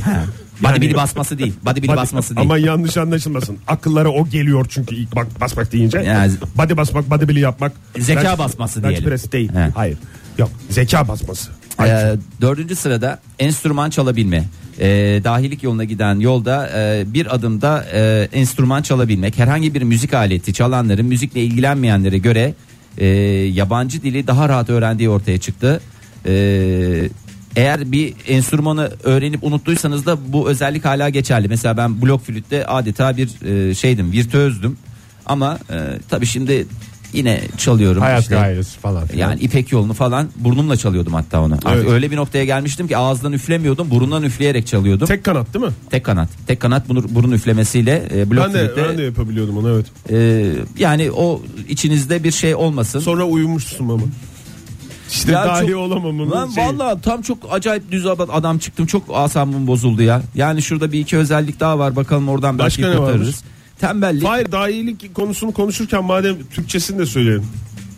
[SPEAKER 4] Body bili basması değil. Body bili
[SPEAKER 5] Body-
[SPEAKER 4] basması değil.
[SPEAKER 5] Ama yanlış anlaşılmasın. Akıllara o geliyor çünkü ilk bak basmak deyince.
[SPEAKER 4] Yani-
[SPEAKER 5] body basmak, body bili yapmak.
[SPEAKER 4] Zeka basması
[SPEAKER 5] bench
[SPEAKER 4] diyelim.
[SPEAKER 5] press değil.
[SPEAKER 4] He.
[SPEAKER 5] Hayır. Yok. Zeka basması.
[SPEAKER 4] Ee, dördüncü sırada enstrüman çalabilme. Ee, dahilik yoluna giden yolda e, bir adımda e, enstrüman çalabilmek. Herhangi bir müzik aleti çalanların müzikle ilgilenmeyenlere göre e, yabancı dili daha rahat öğrendiği ortaya çıktı. Ee, eğer bir enstrümanı öğrenip unuttuysanız da bu özellik hala geçerli. Mesela ben blok flütte adeta bir e, şeydim, virtüözdüm. Ama e, tabii şimdi Yine çalıyorum
[SPEAKER 3] Hayat
[SPEAKER 4] işte.
[SPEAKER 3] gayesi falan filan.
[SPEAKER 4] Yani İpek yolunu falan burnumla çalıyordum hatta onu. Artık
[SPEAKER 5] Evet.
[SPEAKER 4] öyle bir noktaya gelmiştim ki ağızdan üflemiyordum, burundan üfleyerek çalıyordum. Tek,
[SPEAKER 5] Tek kanat değil mi?
[SPEAKER 4] kanat. Tek kanat bunu burun üflemesiyle e, blok
[SPEAKER 5] Ben de,
[SPEAKER 4] flütte,
[SPEAKER 5] ben de yapabiliyordum onu evet.
[SPEAKER 4] e, yani o içinizde bir şey olmasın.
[SPEAKER 5] Sonra uyumuşsun ama. İşte
[SPEAKER 4] Ya
[SPEAKER 5] dahi
[SPEAKER 4] çok-
[SPEAKER 5] olamamanın
[SPEAKER 4] Lan
[SPEAKER 5] şeyi.
[SPEAKER 4] vallahi tam çok acayip düz adam çıktım. Çok asabım bozuldu ya. Yani şurada bir iki özellik daha var. Bakalım oradan belki
[SPEAKER 5] Başka ne varmış?
[SPEAKER 4] kurtarırız. Tembellik.
[SPEAKER 5] Hayır dahilik konusunu konuşurken madem Türkçesini de söyleyelim.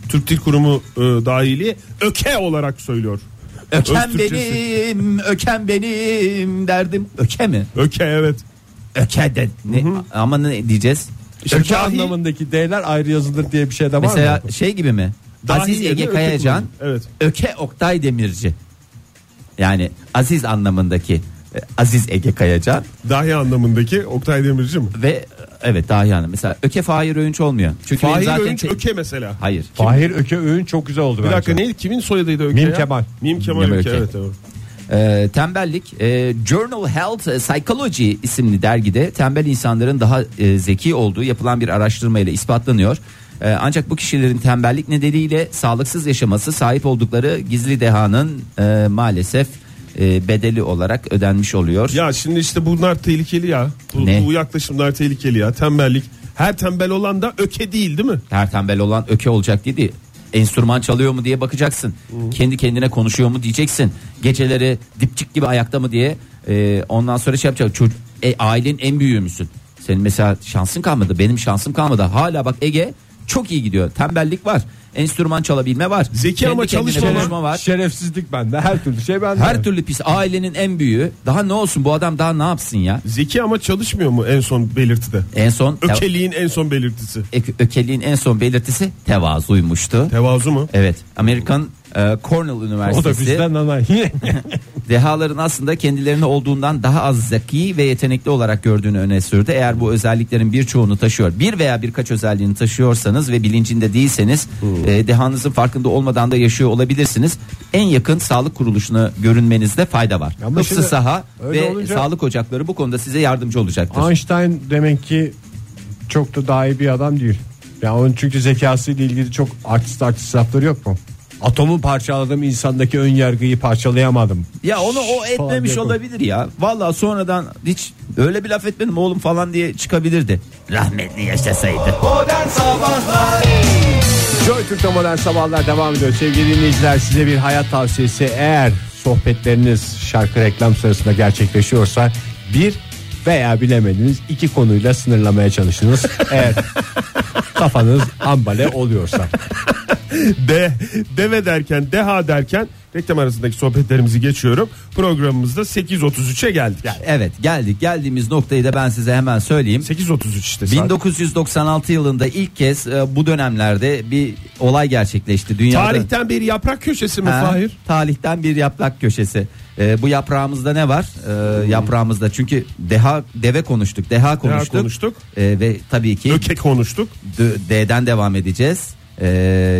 [SPEAKER 5] Türk Dil Kurumu e, dahiliği öke olarak söylüyor.
[SPEAKER 4] öken
[SPEAKER 5] Öz Türkçesi.
[SPEAKER 4] benim, öken benim derdim. Öke mi?
[SPEAKER 5] Öke evet.
[SPEAKER 4] Öke de. Ne, ama ne diyeceğiz?
[SPEAKER 3] İşte
[SPEAKER 4] Ökahi-
[SPEAKER 3] ökahi anlamındaki D'ler ayrı yazılır diye bir şey de var
[SPEAKER 4] Mesela
[SPEAKER 3] mı?
[SPEAKER 4] şey gibi mi?
[SPEAKER 5] Dahi
[SPEAKER 4] Aziz
[SPEAKER 5] yerine
[SPEAKER 4] Ege
[SPEAKER 5] öke
[SPEAKER 4] Kayacan,
[SPEAKER 5] kullanıyor. Evet.
[SPEAKER 4] Öke Oktay Demirci. Yani Aziz anlamındaki e, Aziz Ege Kayacan
[SPEAKER 5] Dahi anlamındaki Oktay Demirci mi?
[SPEAKER 4] ve e, evet daha yani mesela Öke Fahir Öğünç olmuyor. Çünkü benim
[SPEAKER 5] Fahir
[SPEAKER 4] zaten
[SPEAKER 5] Öğünç
[SPEAKER 4] te-
[SPEAKER 5] öke mesela.
[SPEAKER 4] Hayır.
[SPEAKER 3] Fahir Öke Öğün çok güzel oldu
[SPEAKER 5] Bir
[SPEAKER 3] bence.
[SPEAKER 5] dakika neydi? Kimin soyadıydı öke
[SPEAKER 3] Mim
[SPEAKER 5] ya?
[SPEAKER 3] Kemal.
[SPEAKER 5] Mim Kemal
[SPEAKER 4] Mim
[SPEAKER 5] öke,
[SPEAKER 4] Öke.
[SPEAKER 5] evet. evet.
[SPEAKER 4] Ee, tembellik e, Journal Health Psychology isimli dergide tembel insanların daha e, zeki olduğu yapılan bir araştırmayla ispatlanıyor. E, ancak bu kişilerin tembellik nedeniyle sağlıksız yaşaması sahip oldukları gizli dehanın e, maalesef e, bedeli olarak ödenmiş oluyor.
[SPEAKER 5] Ya şimdi işte bunlar tehlikeli ya. Bu,
[SPEAKER 4] Ne?
[SPEAKER 5] bu yaklaşımlar tehlikeli ya. Tembellik. Her tembel olan da öke değil değil mi?
[SPEAKER 4] Her tembel olan öke olacak dedi. Enstrüman çalıyor mu diye bakacaksın. Kendi kendine konuşuyor mu diyeceksin. Geceleri dipçik gibi ayakta mı diye. Ee, ondan sonra şey yapacak. Çocuk, e, ailenin en büyüğü müsün? Senin mesela şansın kalmadı. Benim şansım kalmadı. Hala bak Ege çok iyi gidiyor. Tembellik var. Enstrüman çalabilme var.
[SPEAKER 5] Zeki ama
[SPEAKER 4] kendine
[SPEAKER 5] çalışmayan-
[SPEAKER 4] konuşma var.
[SPEAKER 3] Şerefsizlik bende. Her türlü şey bende.
[SPEAKER 4] Her türlü pis ailenin en büyüğü. Daha ne olsun bu adam daha ne yapsın ya?
[SPEAKER 5] Zeki ama çalışmıyor mu en son belirtide?
[SPEAKER 4] En son te-
[SPEAKER 5] Ökeliğin en son belirtisi.
[SPEAKER 4] ö- ökeliğin en son belirtisi tevazuymuştu.
[SPEAKER 5] Tevazu mu?
[SPEAKER 4] Evet. Amerikan e, Cornell
[SPEAKER 3] o da
[SPEAKER 4] Üniversitesi
[SPEAKER 3] bizden ana. <laughs>
[SPEAKER 4] dehaların aslında kendilerini olduğundan daha az zeki ve yetenekli olarak gördüğünü öne sürdü. Eğer bu özelliklerin birçoğunu taşıyor, bir veya birkaç özelliğini taşıyorsanız ve bilincinde değilseniz
[SPEAKER 3] Hmm.
[SPEAKER 4] e, dehanızın farkında olmadan da yaşıyor olabilirsiniz. En yakın sağlık kuruluşuna görünmenizde fayda var.
[SPEAKER 3] Ama
[SPEAKER 4] Hıfzı
[SPEAKER 3] şimdi
[SPEAKER 4] saha
[SPEAKER 3] öyle
[SPEAKER 4] ve
[SPEAKER 3] olunca-
[SPEAKER 4] sağlık ocakları bu konuda size yardımcı olacaktır.
[SPEAKER 3] Einstein demek ki çok da dahi bir adam değil. Ya onun çünkü zekasıyla ilgili çok artist artist lafları yok mu? Atomu parçaladım insandaki ön yargıyı parçalayamadım.
[SPEAKER 4] Ya onu o
[SPEAKER 3] Falan
[SPEAKER 4] etmemiş
[SPEAKER 3] diye konuş-
[SPEAKER 4] olabilir ya. Vallahi sonradan hiç öyle bir laf etmedim oğlum falan diye çıkabilirdi. Rahmetli yaşasaydı.
[SPEAKER 2] Modern Sabahlar
[SPEAKER 3] Joy Türk'te modern sabahlar devam ediyor. Sevgili dinleyiciler size bir hayat tavsiyesi eğer sohbetleriniz şarkı reklam sırasında gerçekleşiyorsa bir veya bilemediğiniz iki konuyla sınırlamaya <laughs> çalışınız. Eğer kafanız ambale oluyorsa.
[SPEAKER 5] De, deve derken, deha derken reklam arasındaki sohbetlerimizi geçiyorum. Programımızda 8.33'e geldik. Yani
[SPEAKER 4] Evet geldik geldiğimiz noktayı da ben size hemen söyleyeyim.
[SPEAKER 5] 8.33 işte. saat.
[SPEAKER 4] 1996 yılında ilk kez e, bu dönemlerde bir olay gerçekleşti dünyada.
[SPEAKER 5] Tarihten beri yaprak köşesi mi
[SPEAKER 4] Ha,
[SPEAKER 5] Fahir?
[SPEAKER 4] Talihten bir yaprak köşesi. E, bu yaprağımızda ne var? E,
[SPEAKER 5] Hmm.
[SPEAKER 4] Yaprağımızda çünkü deha deve konuştuk, deha konuştuk.
[SPEAKER 5] konuştuk.
[SPEAKER 4] E, ve tabii ki
[SPEAKER 5] Öke konuştuk.
[SPEAKER 4] d- D'den devam edeceğiz. E,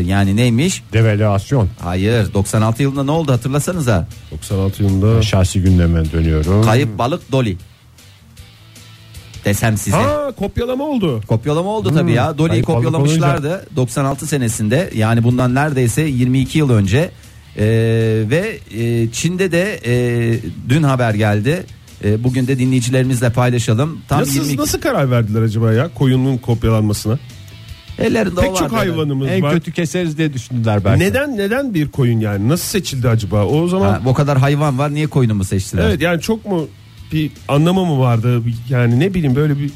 [SPEAKER 4] yani neymiş?
[SPEAKER 3] Devalüasyon.
[SPEAKER 4] Hayır, 96 yılında ne oldu hatırlasanıza.
[SPEAKER 5] Hmm. 96 yılında.
[SPEAKER 3] Şahsi gündeme dönüyorum.
[SPEAKER 4] Kayıp balık Dolly. Desem size.
[SPEAKER 5] Ha kopyalama oldu.
[SPEAKER 4] Kopyalama oldu tabii
[SPEAKER 3] Hmm.
[SPEAKER 4] ya. Dolly'yi
[SPEAKER 3] Kayıp balık
[SPEAKER 4] kopyalamışlardı 96 senesinde. Yani bundan neredeyse 22 yıl önce. Ee, ve e, Çin'de de e, dün haber geldi. E, bugün de dinleyicilerimizle paylaşalım. Tam
[SPEAKER 5] nasıl
[SPEAKER 4] 22
[SPEAKER 5] nasıl karar verdiler acaba ya koyunun kopyalanmasına?
[SPEAKER 4] ellerinde o
[SPEAKER 5] Pek çok
[SPEAKER 4] vardı herhalde.
[SPEAKER 5] hayvanımız
[SPEAKER 3] En
[SPEAKER 5] var.
[SPEAKER 3] kötü keseriz diye düşündüler belki.
[SPEAKER 5] Neden neden bir koyun yani? Nasıl seçildi acaba? O zaman
[SPEAKER 4] Ha, o kadar hayvan var niye koyunumu seçtiler?
[SPEAKER 5] evet yani çok mu bir anlamı mı vardı? Yani ne bileyim böyle bir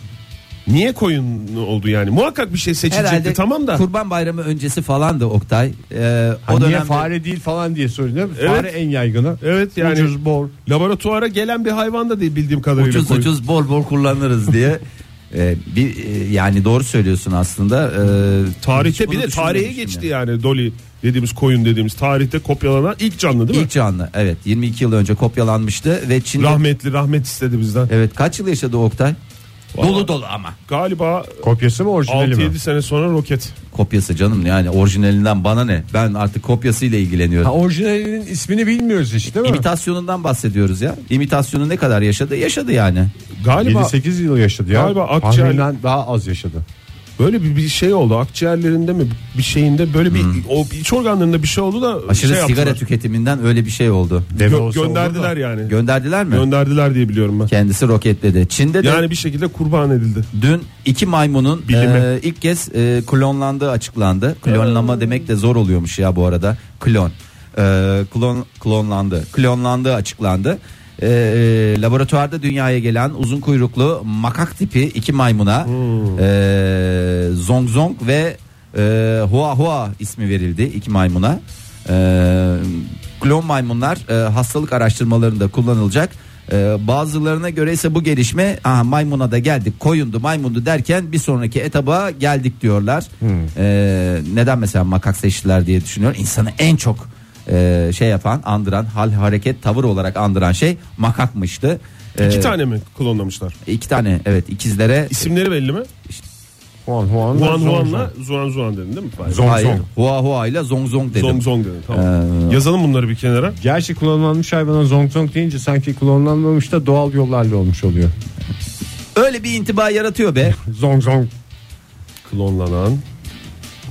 [SPEAKER 5] niye koyun oldu yani? Muhakkak bir şey seçilecekti
[SPEAKER 4] Herhalde
[SPEAKER 5] tamam da.
[SPEAKER 4] Kurban Bayramı öncesi falandı Oktay. Ee, o
[SPEAKER 3] Ha, Hani niye
[SPEAKER 4] dönemde
[SPEAKER 3] fare değil falan diye söylüyor.
[SPEAKER 5] Evet.
[SPEAKER 3] Fare en yaygını.
[SPEAKER 5] Evet, yani-
[SPEAKER 3] Ucuz bor.
[SPEAKER 5] Laboratuvara gelen bir hayvan da değil bildiğim kadarıyla.
[SPEAKER 4] ucuz
[SPEAKER 5] koyun.
[SPEAKER 4] ucuz bol bol kullanırız
[SPEAKER 3] <laughs>
[SPEAKER 4] diye. Ee, bir e, yani doğru söylüyorsun aslında. Ee, hiç
[SPEAKER 5] Tarihte
[SPEAKER 4] bunu
[SPEAKER 5] bir de tarihe
[SPEAKER 4] düşünmemiştim
[SPEAKER 5] geçti
[SPEAKER 4] yani.
[SPEAKER 5] yani. Dolly dediğimiz koyun dediğimiz tarihte kopyalanan ilk canlı değil mi?
[SPEAKER 4] İlk canlı evet 22 yıl önce kopyalanmıştı ve Çin'de
[SPEAKER 5] Rahmetli rahmet istedi bizden.
[SPEAKER 4] evet kaç yıl yaşadı Oktay? Dolu dolu ama.
[SPEAKER 5] Galiba
[SPEAKER 3] Kopyası mı orijinali mi?
[SPEAKER 5] 6-7 sene sonra roket.
[SPEAKER 4] Kopyası canım yani orijinalinden bana ne? Ben artık kopyasıyla ilgileniyorum.
[SPEAKER 3] Ha, orijinalinin ismini bilmiyoruz işte değil mi?
[SPEAKER 4] İmitasyonundan bahsediyoruz ya. İmitasyonu ne kadar yaşadı? Yaşadı yani.
[SPEAKER 5] Galiba
[SPEAKER 3] 7-8 yıl yaşadı ya.
[SPEAKER 5] Galiba akciğer-
[SPEAKER 3] Tahminen daha az yaşadı.
[SPEAKER 5] Böyle bir, bir şey oldu akciğerlerinde mi bir şeyinde böyle bir o iç organlarında bir şey oldu da
[SPEAKER 4] Hmm. Aşırı
[SPEAKER 5] şey
[SPEAKER 4] sigara
[SPEAKER 5] yaptılar.
[SPEAKER 4] tüketiminden öyle bir şey oldu.
[SPEAKER 3] Deve
[SPEAKER 5] Gö-
[SPEAKER 3] olsa olur
[SPEAKER 5] gönderdiler
[SPEAKER 3] da.
[SPEAKER 5] yani.
[SPEAKER 4] Gönderdiler mi?
[SPEAKER 5] gönderdiler diye biliyorum ben.
[SPEAKER 4] Kendisi roketledi. Çin'de de
[SPEAKER 5] Yani bir şekilde kurban edildi.
[SPEAKER 4] dün iki maymunun
[SPEAKER 5] Bilimi.
[SPEAKER 4] e, ilk kez e, klonlandığı açıklandı. Klonlama demek de zor oluyormuş ya bu arada. Klon. E, klon klonlandı. Klonlandığı açıklandı. E, e, laboratuvarda dünyaya gelen uzun kuyruklu makak tipi iki maymuna e, Zong Zong ve e, Hua Hua ismi verildi iki maymuna. E, klon maymunlar e, hastalık araştırmalarında kullanılacak. Ee, bazılarına göre ise bu gelişme aha, maymuna da geldik koyundu maymundu derken bir sonraki etaba geldik diyorlar.
[SPEAKER 5] Hmm.
[SPEAKER 4] Ee, neden mesela makak seçtiler diye düşünüyorum. İnsanı en çok e, şey yapan andıran hal hareket tavır olarak andıran şey makakmıştı. Ee,
[SPEAKER 5] İki tane mi klonlamışlar?
[SPEAKER 4] iki tane evet ikizlere
[SPEAKER 5] İsimleri belli mi?
[SPEAKER 3] Juan Juan'la
[SPEAKER 5] Juan
[SPEAKER 3] Zong
[SPEAKER 5] Juan'la Zuan Zuan dedin değil mi? Fahir?
[SPEAKER 3] Zong.
[SPEAKER 4] hayır, hua hua ile zong zong dedim.
[SPEAKER 5] Zong Zong dedin.
[SPEAKER 3] Ee,
[SPEAKER 5] Tamam. Yazalım bunları bir kenara.
[SPEAKER 3] Gerçi klonlanmış hayvana zong zong deyince sanki klonlanmamış da doğal yollarla olmuş oluyor.
[SPEAKER 4] Öyle bir intiba yaratıyor be.
[SPEAKER 3] Zong zong.
[SPEAKER 5] Klonlanan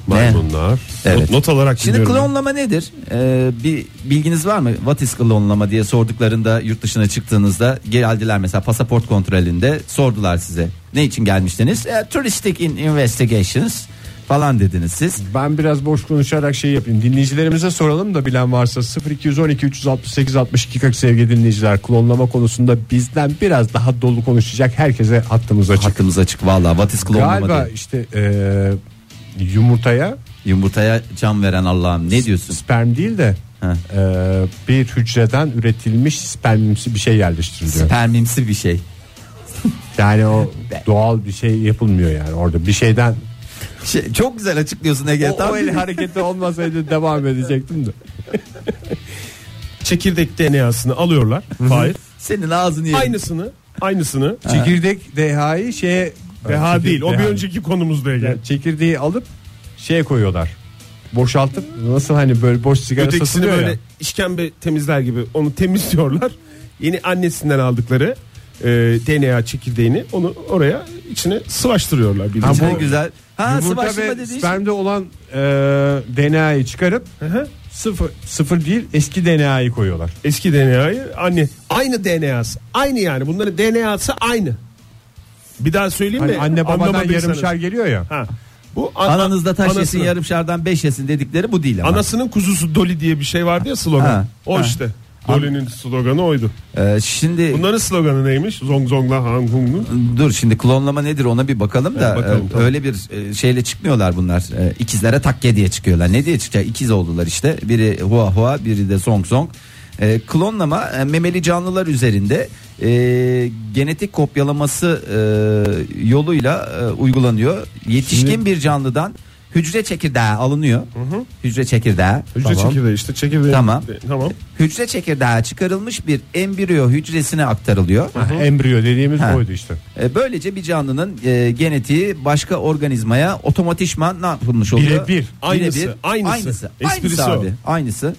[SPEAKER 5] maymunlar.
[SPEAKER 4] Evet.
[SPEAKER 5] Not, not alarak
[SPEAKER 4] Şimdi
[SPEAKER 5] dinliyorum.
[SPEAKER 4] klonlama nedir? Ee, bir bilginiz var mı? What is klonlama diye sorduklarında yurt dışına çıktığınızda geldiler mesela pasaport kontrolünde sordular size. Ne için gelmiştiniz? E, touristic in- investigations falan dediniz siz.
[SPEAKER 3] Ben biraz boş konuşarak şey yapayım. Dinleyicilerimize soralım da bilen varsa 0212 368 62 40 sevgili dinleyiciler. Klonlama konusunda bizden biraz daha dolu konuşacak herkese hattımız açık.
[SPEAKER 4] Hakkımız açık valla what is klonlama
[SPEAKER 3] Galiba
[SPEAKER 4] diye.
[SPEAKER 3] işte e, yumurtaya
[SPEAKER 4] Yumurtaya can veren Allah'ım ne diyorsun?
[SPEAKER 3] sperm değil de
[SPEAKER 4] Ha.
[SPEAKER 3] e, bir hücreden üretilmiş spermimsi bir şey yerleştiriliyor.
[SPEAKER 4] Spermimsi bir şey.
[SPEAKER 3] Yani o doğal bir şey yapılmıyor yani orada bir şeyden
[SPEAKER 4] Şey, çok güzel açıklıyorsun Ege.
[SPEAKER 3] o,
[SPEAKER 4] Tam
[SPEAKER 3] o el
[SPEAKER 4] bir-
[SPEAKER 3] hareketi olmasaydı devam
[SPEAKER 5] <laughs>
[SPEAKER 3] edecektim de.
[SPEAKER 5] Çekirdek DNA'sını alıyorlar. Hayır.
[SPEAKER 4] Senin ağzını yerim.
[SPEAKER 5] Aynısını aynısını
[SPEAKER 3] Çekirdek DH'yi şeye
[SPEAKER 5] Deha değil. O bir
[SPEAKER 3] DH'yi.
[SPEAKER 5] önceki konumuzda Ege.
[SPEAKER 3] Yani çekirdeği alıp şeye koyuyorlar. Boşaltıp nasıl hani böyle boş sigara
[SPEAKER 5] Ötekisini
[SPEAKER 3] satılıyor
[SPEAKER 5] böyle
[SPEAKER 3] ya.
[SPEAKER 5] işkembe temizler gibi onu <laughs> temizliyorlar. Yeni annesinden aldıkları e, DNA çekirdeğini onu oraya içine sıvaştırıyorlar.
[SPEAKER 3] Ha,
[SPEAKER 5] bildiğiniz
[SPEAKER 4] Ne
[SPEAKER 3] bu-
[SPEAKER 5] gibi.
[SPEAKER 4] güzel. Ha
[SPEAKER 3] Yumurta
[SPEAKER 4] sıvaştırma
[SPEAKER 3] ve
[SPEAKER 4] dediğin şey.
[SPEAKER 3] spermde olan e, DNA'yı çıkarıp
[SPEAKER 5] hı.
[SPEAKER 3] sıfır, sıfır değil eski DNA'yı koyuyorlar.
[SPEAKER 5] Eski DNA'yı anne aynı DNA'sı aynı yani bunların DNA'sı aynı. Bir daha söyleyeyim
[SPEAKER 3] Hani
[SPEAKER 5] mi?
[SPEAKER 3] anne babadan
[SPEAKER 5] Anlamadıysanız.
[SPEAKER 3] yarımşar geliyor ya.
[SPEAKER 5] Ha. Bu an-
[SPEAKER 4] Ananızda taş yesin
[SPEAKER 5] anasının-
[SPEAKER 4] yarımşardan beş yesin dedikleri bu değil ama.
[SPEAKER 5] Anasının kuzusu Dolly diye bir şey vardı ya slogan.
[SPEAKER 4] Ha,
[SPEAKER 5] O
[SPEAKER 4] ha.
[SPEAKER 5] işte. Dolly'nin sloganı oydu.
[SPEAKER 4] Ee, şimdi
[SPEAKER 5] Bunların sloganı neymiş? Zong zongla hang hung hung.
[SPEAKER 4] dur şimdi klonlama nedir ona bir bakalım da
[SPEAKER 5] Evet, bakalım,
[SPEAKER 4] e,
[SPEAKER 5] tamam.
[SPEAKER 4] öyle bir e, şeyle çıkmıyorlar bunlar. E, İkizlere takke diye çıkıyorlar. Ne diye çıkacak? İkiz oldular işte. Biri Hua Hua, biri de Song Song. E, klonlama e, memeli canlılar üzerinde e, genetik kopyalaması e, yoluyla e, uygulanıyor. Yetişkin bir canlıdan hücre çekirdeği alınıyor. Hücre çekirdeği.
[SPEAKER 5] Hücre çekirdeği işte çekirdeği.
[SPEAKER 4] Tamam.
[SPEAKER 5] E, Tamam.
[SPEAKER 4] Hücre çekirdeği çıkarılmış bir embriyo hücresine aktarılıyor.
[SPEAKER 3] Ha, Embriyo dediğimiz
[SPEAKER 4] Ha.
[SPEAKER 3] boydu işte.
[SPEAKER 4] E, Böylece bir canlının e, genetiği başka organizmaya otomatikman ne yapılmış oluyor?
[SPEAKER 3] Birebir.
[SPEAKER 5] Aynısı,
[SPEAKER 4] Birebir.
[SPEAKER 5] aynısı.
[SPEAKER 4] Aynısı.
[SPEAKER 5] Esprisi
[SPEAKER 4] Aynısı
[SPEAKER 5] o.
[SPEAKER 4] abi. Aynısı.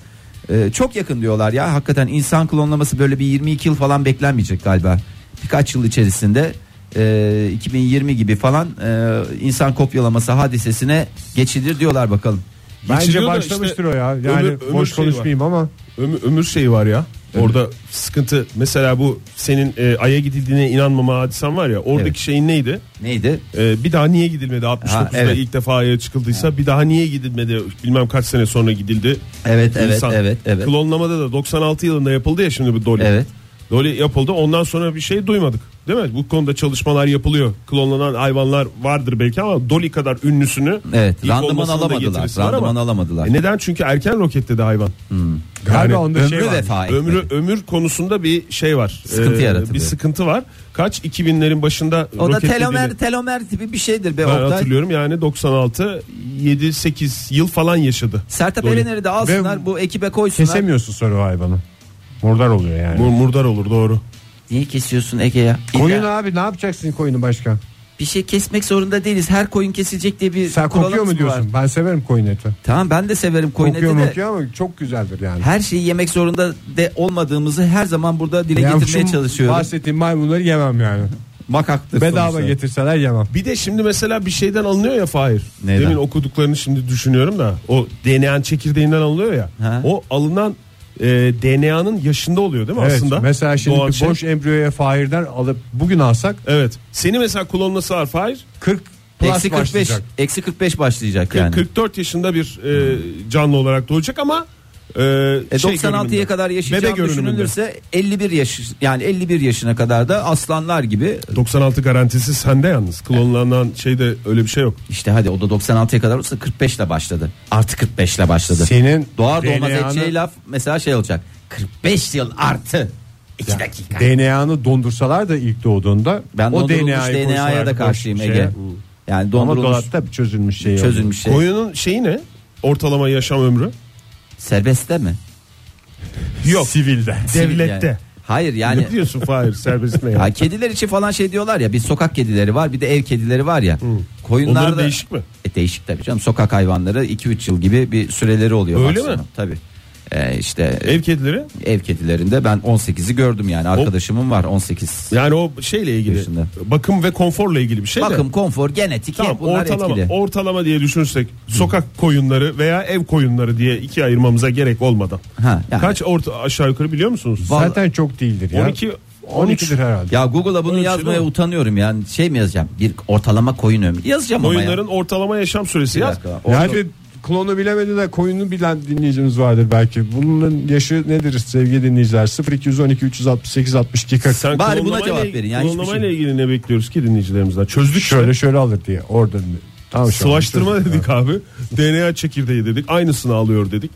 [SPEAKER 4] E, çok yakın diyorlar ya. Hakikaten insan klonlaması böyle bir 22 yıl falan beklenmeyecek galiba. Birkaç yıl içerisinde e, 2020 gibi falan e, insan kopyalaması hadisesine geçilir diyorlar bakalım.
[SPEAKER 3] Bence
[SPEAKER 5] Geçiriyor da
[SPEAKER 3] başlamıştır
[SPEAKER 5] işte
[SPEAKER 3] o ya. Yani
[SPEAKER 5] ömür- ömür
[SPEAKER 3] boş
[SPEAKER 5] şeyi var.
[SPEAKER 3] konuşmayayım ama
[SPEAKER 5] Ömür, ömür şeyi var ya. Orada sıkıntı mesela bu senin e, aya gidildiğine inanmama hadisen var ya. Oradaki
[SPEAKER 4] Evet.
[SPEAKER 5] şeyin neydi?
[SPEAKER 4] Neydi?
[SPEAKER 5] E, bir daha niye gidilmedi 69'da
[SPEAKER 4] Ha, evet.
[SPEAKER 5] ilk defa aya çıkıldıysa bir daha niye gidilmedi bilmem kaç sene sonra gidildi.
[SPEAKER 4] Evet evet
[SPEAKER 5] İnsan.
[SPEAKER 4] evet evet.
[SPEAKER 5] Klonlamada da 96 yılında yapıldı ya şimdi bu Dolly.
[SPEAKER 4] Evet.
[SPEAKER 5] Dolly yapıldı ondan sonra bir şey duymadık. Değil mi? Bu konuda çalışmalar yapılıyor. Klonlanan hayvanlar vardır belki ama Dolly kadar ünlüsünü
[SPEAKER 4] Evet,
[SPEAKER 5] ilk
[SPEAKER 4] randıman
[SPEAKER 5] olmasının da
[SPEAKER 4] alamadılar,
[SPEAKER 5] getirisi var ama-
[SPEAKER 4] randıman alamadılar.
[SPEAKER 5] E neden? Çünkü erken roketledi hayvan.
[SPEAKER 3] galiba
[SPEAKER 5] Yani
[SPEAKER 3] onda
[SPEAKER 4] Ömrü
[SPEAKER 3] şey var.
[SPEAKER 4] vefa etmedi.
[SPEAKER 5] Ömrü ömür konusunda bir şey var.
[SPEAKER 4] Sıkıntı yaratılıyor.
[SPEAKER 5] Bir sıkıntı var. Kaç 2000'lerin başında
[SPEAKER 4] O da
[SPEAKER 5] roketlediğini-
[SPEAKER 4] telomer telomer tipi bir şeydir be
[SPEAKER 5] ben
[SPEAKER 4] Oktay.
[SPEAKER 5] hatırlıyorum yani 96 7 8 yıl falan yaşadı.
[SPEAKER 4] Sertab
[SPEAKER 5] Doğru.
[SPEAKER 4] Erener'i de alsınlar
[SPEAKER 3] Ve
[SPEAKER 4] bu ekibe koysunlar.
[SPEAKER 3] Kesemiyorsun sonra o hayvanı. Murdar oluyor yani.
[SPEAKER 5] Mur- murdar olur doğru.
[SPEAKER 4] Niye kesiyorsun Ege ya?
[SPEAKER 3] Koyun
[SPEAKER 4] İlla
[SPEAKER 3] abi ne yapacaksın koyunu başka?
[SPEAKER 4] Bir şey kesmek zorunda değiliz. Her koyun kesilecek diye bir
[SPEAKER 3] Sen
[SPEAKER 4] kuralımız
[SPEAKER 3] kokuyor mu
[SPEAKER 4] mı
[SPEAKER 3] diyorsun?
[SPEAKER 4] var?
[SPEAKER 3] Ben severim koyun eti.
[SPEAKER 4] Tamam ben de severim koyun
[SPEAKER 3] kokuyor
[SPEAKER 4] eti de.
[SPEAKER 3] mokuyor ama çok güzeldir yani.
[SPEAKER 4] Her şeyi yemek zorunda de olmadığımızı her zaman burada dile
[SPEAKER 3] Yani
[SPEAKER 4] getirmeye
[SPEAKER 3] şu
[SPEAKER 4] çalışıyorum.
[SPEAKER 3] Bahsettiğim maymunları yemem yani.
[SPEAKER 4] makaktır
[SPEAKER 3] Bedava
[SPEAKER 4] sonuçta.
[SPEAKER 3] getirseler yemem.
[SPEAKER 5] Bir de şimdi mesela bir şeyden alınıyor ya Fahir.
[SPEAKER 4] Neyden?
[SPEAKER 5] Demin okuduklarını şimdi düşünüyorum da o DNA çekirdeğinden alınıyor ya.
[SPEAKER 4] Ha.
[SPEAKER 5] O alınan e, DNA'nın yaşında oluyor değil mi
[SPEAKER 3] Evet,
[SPEAKER 5] aslında?
[SPEAKER 3] mesela şimdi
[SPEAKER 5] Doğan
[SPEAKER 3] bir
[SPEAKER 5] şey.
[SPEAKER 3] boş embriyoya Fahir'den alıp bugün alsak
[SPEAKER 5] Evet. Seni mesela klonlasalar Fahir
[SPEAKER 3] 40 plus
[SPEAKER 4] Eksi 45,
[SPEAKER 3] başlayacak.
[SPEAKER 4] eksi 45 başlayacak
[SPEAKER 5] 40,
[SPEAKER 4] yani.
[SPEAKER 5] 44 yaşında bir e, canlı olarak doğacak ama e,
[SPEAKER 4] E,
[SPEAKER 5] şey
[SPEAKER 4] 96'ya
[SPEAKER 5] görünümünde.
[SPEAKER 4] kadar yaşayacağım
[SPEAKER 5] Bebe görünümünde.
[SPEAKER 4] düşünülürse 51 yaş yani 51 yaşına kadar da aslanlar gibi
[SPEAKER 5] 96 garantisi sende yalnız. Klonlanan şeyde öyle bir şey yok.
[SPEAKER 4] işte hadi o da 96'ya kadar olsa 45 ile başladı. Artı 45 ile başladı.
[SPEAKER 3] Senin
[SPEAKER 4] Doğar doğmaz
[SPEAKER 3] DNA'nı
[SPEAKER 4] edeceği laf mesela şey olacak. 45 yıl artı 2 dakika.
[SPEAKER 3] DNA'nı dondursalar da ilk doğduğunda
[SPEAKER 4] ben
[SPEAKER 3] o
[SPEAKER 4] dondurulmuş
[SPEAKER 3] DNA'yı
[SPEAKER 4] DNA'ya da karşıyım
[SPEAKER 5] şey
[SPEAKER 4] Ege. Yani
[SPEAKER 3] Ama
[SPEAKER 4] dondurulmuş
[SPEAKER 3] dolapta bir çözülmüş şey. yok.
[SPEAKER 4] çözülmüş şey.
[SPEAKER 5] Koyunun şeyi ne? Ortalama yaşam ömrü.
[SPEAKER 4] Serbestte mi?
[SPEAKER 5] Yok.
[SPEAKER 3] Sivilde.
[SPEAKER 5] Devlette.
[SPEAKER 4] Yani. Hayır yani
[SPEAKER 5] Ne diyorsun Fahir
[SPEAKER 4] <laughs>
[SPEAKER 5] serbest ne
[SPEAKER 4] Ya
[SPEAKER 5] ya?
[SPEAKER 4] kediler için falan şey diyorlar ya bir sokak kedileri var bir de ev kedileri var ya. Koyunlarda
[SPEAKER 5] Onların değişik mi?
[SPEAKER 4] E, değişik tabii canım. Sokak hayvanları 2-3 yıl gibi bir süreleri oluyor.
[SPEAKER 5] Öyle
[SPEAKER 4] baksana.
[SPEAKER 5] mi?
[SPEAKER 4] Tabii. E, işte ev...
[SPEAKER 5] Ev kedileri
[SPEAKER 4] kedilerinde ben 18'i gördüm yani arkadaşımın var 18.
[SPEAKER 5] yani o şeyle ilgili
[SPEAKER 4] Yaşında.
[SPEAKER 5] bakım ve konforla ilgili bir şey de.
[SPEAKER 4] Bakım, konfor, genetik
[SPEAKER 5] Tamam
[SPEAKER 4] hep bunlar
[SPEAKER 5] ortalama
[SPEAKER 4] etkili.
[SPEAKER 5] ortalama diye düşünürsek sokak koyunları veya ev koyunları diye ikiye ayırmamıza gerek olmadan.
[SPEAKER 4] Ha, yani.
[SPEAKER 5] Kaç orta aşağı yukarı biliyor musunuz?
[SPEAKER 4] Vallahi-
[SPEAKER 3] Zaten çok değildir ya.
[SPEAKER 5] 12 13
[SPEAKER 3] 12'dir herhalde.
[SPEAKER 4] Ya Google'a bunu
[SPEAKER 5] Öyle bir şey
[SPEAKER 4] yazmaya
[SPEAKER 5] değil mi?
[SPEAKER 4] utanıyorum yani şey mi yazacağım? Bir ortalama koyun ömrü yazacağım
[SPEAKER 5] koyunların ortalama yaşam
[SPEAKER 4] ama
[SPEAKER 5] süresi
[SPEAKER 4] ya.
[SPEAKER 5] yaz.
[SPEAKER 4] Bir dakika. Orta-
[SPEAKER 3] Yani klonu bilemedi de koyunu bilen dinleyicimiz vardır belki. Bunun yaşı nedir sevgili dinleyiciler? 0212 368 62 40.
[SPEAKER 5] Sen
[SPEAKER 4] Bari buna
[SPEAKER 5] klonlamayla-
[SPEAKER 4] cevap verin yani hiçbir
[SPEAKER 5] klonlamayla
[SPEAKER 4] şey-
[SPEAKER 5] ilgili ne bekliyoruz ki dinleyicilerimizden? Çözdük şöyle.
[SPEAKER 3] şöyle şöyle alır diye oradan. Tamam şu an.
[SPEAKER 5] Sılaştırma dedik abi. DNA çekirdeği dedik. Aynısını alıyor dedik.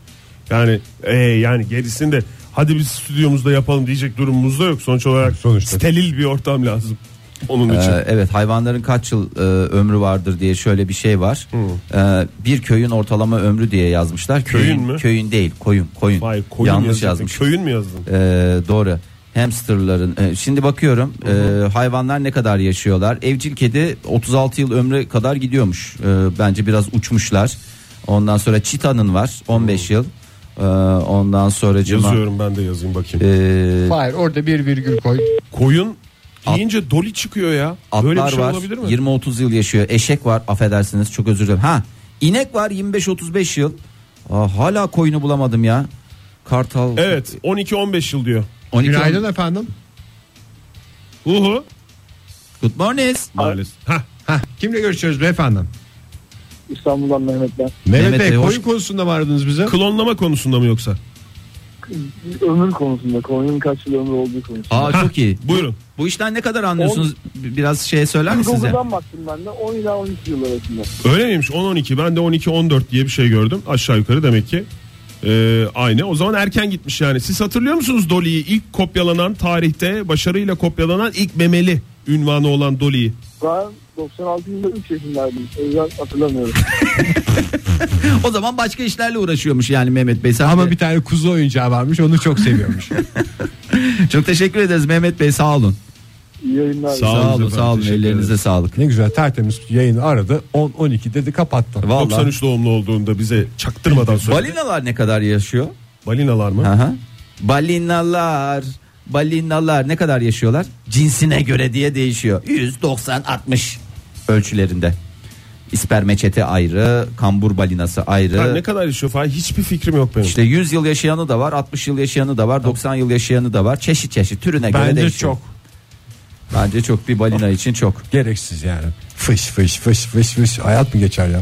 [SPEAKER 5] Yani ee, yani gerisini de hadi biz stüdyomuzda yapalım diyecek durumumuz da yok. Sonuç olarak
[SPEAKER 3] Sonuçta.
[SPEAKER 5] steril bir ortam lazım. Onun için.
[SPEAKER 4] Ee, evet hayvanların kaç yıl e, ömrü vardır diye şöyle bir şey var. Ee, bir köyün ortalama ömrü diye yazmışlar. Köyün,
[SPEAKER 5] Köyün mü?
[SPEAKER 4] Köyün değil koyun koyun.
[SPEAKER 5] Hayır, koyun
[SPEAKER 4] Yanlış
[SPEAKER 5] yazdın.
[SPEAKER 4] yazmış.
[SPEAKER 5] Köyün mü yazdın?
[SPEAKER 4] Ee, doğru. Hamsterların e, şimdi bakıyorum e, hayvanlar ne kadar yaşıyorlar. Evcil kedi 36 yıl ömre kadar gidiyormuş. Ee, bence biraz uçmuşlar. Ondan sonra çitanın var 15 yıl. Ee, ondan sonra e,
[SPEAKER 5] Yazıyorum ben de yazayım bakayım.
[SPEAKER 4] Ee,
[SPEAKER 3] Hayır orada bir virgül koy.
[SPEAKER 5] Koyun deyince doli çıkıyor ya.
[SPEAKER 4] Atlar
[SPEAKER 5] Böyle bir şey
[SPEAKER 4] var.
[SPEAKER 5] olabilir mi?
[SPEAKER 4] 20-30 yıl yaşıyor. Eşek var. Affedersiniz çok özür dilerim. Ha, inek var 25-35 yıl. Aa, hala koyunu bulamadım ya. Kartal.
[SPEAKER 5] Evet 12-15 yıl diyor.
[SPEAKER 4] 12
[SPEAKER 3] Günaydın efendim.
[SPEAKER 5] Uhu.
[SPEAKER 4] Good morning.
[SPEAKER 5] Maalesef. Hah.
[SPEAKER 3] Hah, kimle görüşüyoruz beyefendi?
[SPEAKER 6] İstanbul'dan Mehmet ben.
[SPEAKER 3] Mehmet,
[SPEAKER 4] Mehmet
[SPEAKER 3] Bey,
[SPEAKER 4] Bey,
[SPEAKER 3] koyun
[SPEAKER 4] hoş-
[SPEAKER 3] konusunda mı aradınız bize?
[SPEAKER 5] Klonlama konusunda mı yoksa?
[SPEAKER 6] Ömür konusunda koyunun kaç yıl ömrü olduğu konusunda.
[SPEAKER 4] Aa, çok iyi.
[SPEAKER 5] Buyurun.
[SPEAKER 4] Bu işten ne kadar anlıyorsunuz? Biraz şey söyler misiniz? ya?
[SPEAKER 6] Google'dan baktım ben de 10 ila 12 yıl arasında.
[SPEAKER 5] Öyle miymiş 10-12 ben de 12-14 diye bir şey gördüm aşağı yukarı demek ki e, aynı o zaman erken gitmiş yani siz hatırlıyor musunuz Dolly'yi ilk kopyalanan tarihte başarıyla kopyalanan ilk memeli ünvanı olan Dolly'yi
[SPEAKER 6] Ben 96 yılında 3 yaşındaydım. O yüzden hatırlamıyorum.
[SPEAKER 4] O zaman başka işlerle uğraşıyormuş yani Mehmet Bey. Sen
[SPEAKER 3] Ama
[SPEAKER 4] de-
[SPEAKER 3] bir tane kuzu oyuncağı varmış onu
[SPEAKER 5] <laughs>
[SPEAKER 3] çok seviyormuş.
[SPEAKER 4] Çok teşekkür ederiz Mehmet Bey sağ olun.
[SPEAKER 6] İyi yayınlar.
[SPEAKER 5] Sağ olun
[SPEAKER 4] sağ olun,
[SPEAKER 5] efendim,
[SPEAKER 4] sağ olun.
[SPEAKER 5] teşekkür
[SPEAKER 4] ellerinize
[SPEAKER 5] ederiz.
[SPEAKER 4] sağlık.
[SPEAKER 3] ne güzel tertemiz yayını aradı 10-12 dedi kapattı.
[SPEAKER 4] Vallahi.
[SPEAKER 5] 93 doğumlu olduğunda bize çaktırmadan söyledi.
[SPEAKER 4] Balinalar ne kadar yaşıyor?
[SPEAKER 5] Balinalar mı?
[SPEAKER 4] Aha. Balinalar, balinalar ne kadar yaşıyorlar? Cinsine göre diye değişiyor. 190 60 ölçülerinde. İspermeçeti ayrı, kambur balinası
[SPEAKER 5] Ha, ne
[SPEAKER 4] ayrı.
[SPEAKER 5] kadar yaşıyor falan hiçbir fikrim yok benim.
[SPEAKER 4] İşte 100 yıl yaşayanı da var, 60 yıl yaşayanı da var, 90 yıl yaşayanı da var. Çeşit çeşit türüne göre
[SPEAKER 3] Bence
[SPEAKER 4] değişiyor.
[SPEAKER 3] çok
[SPEAKER 4] Bence çok bir balina için çok.
[SPEAKER 3] gereksiz yani. Fış fış fış fış fış hayat mı geçer ya?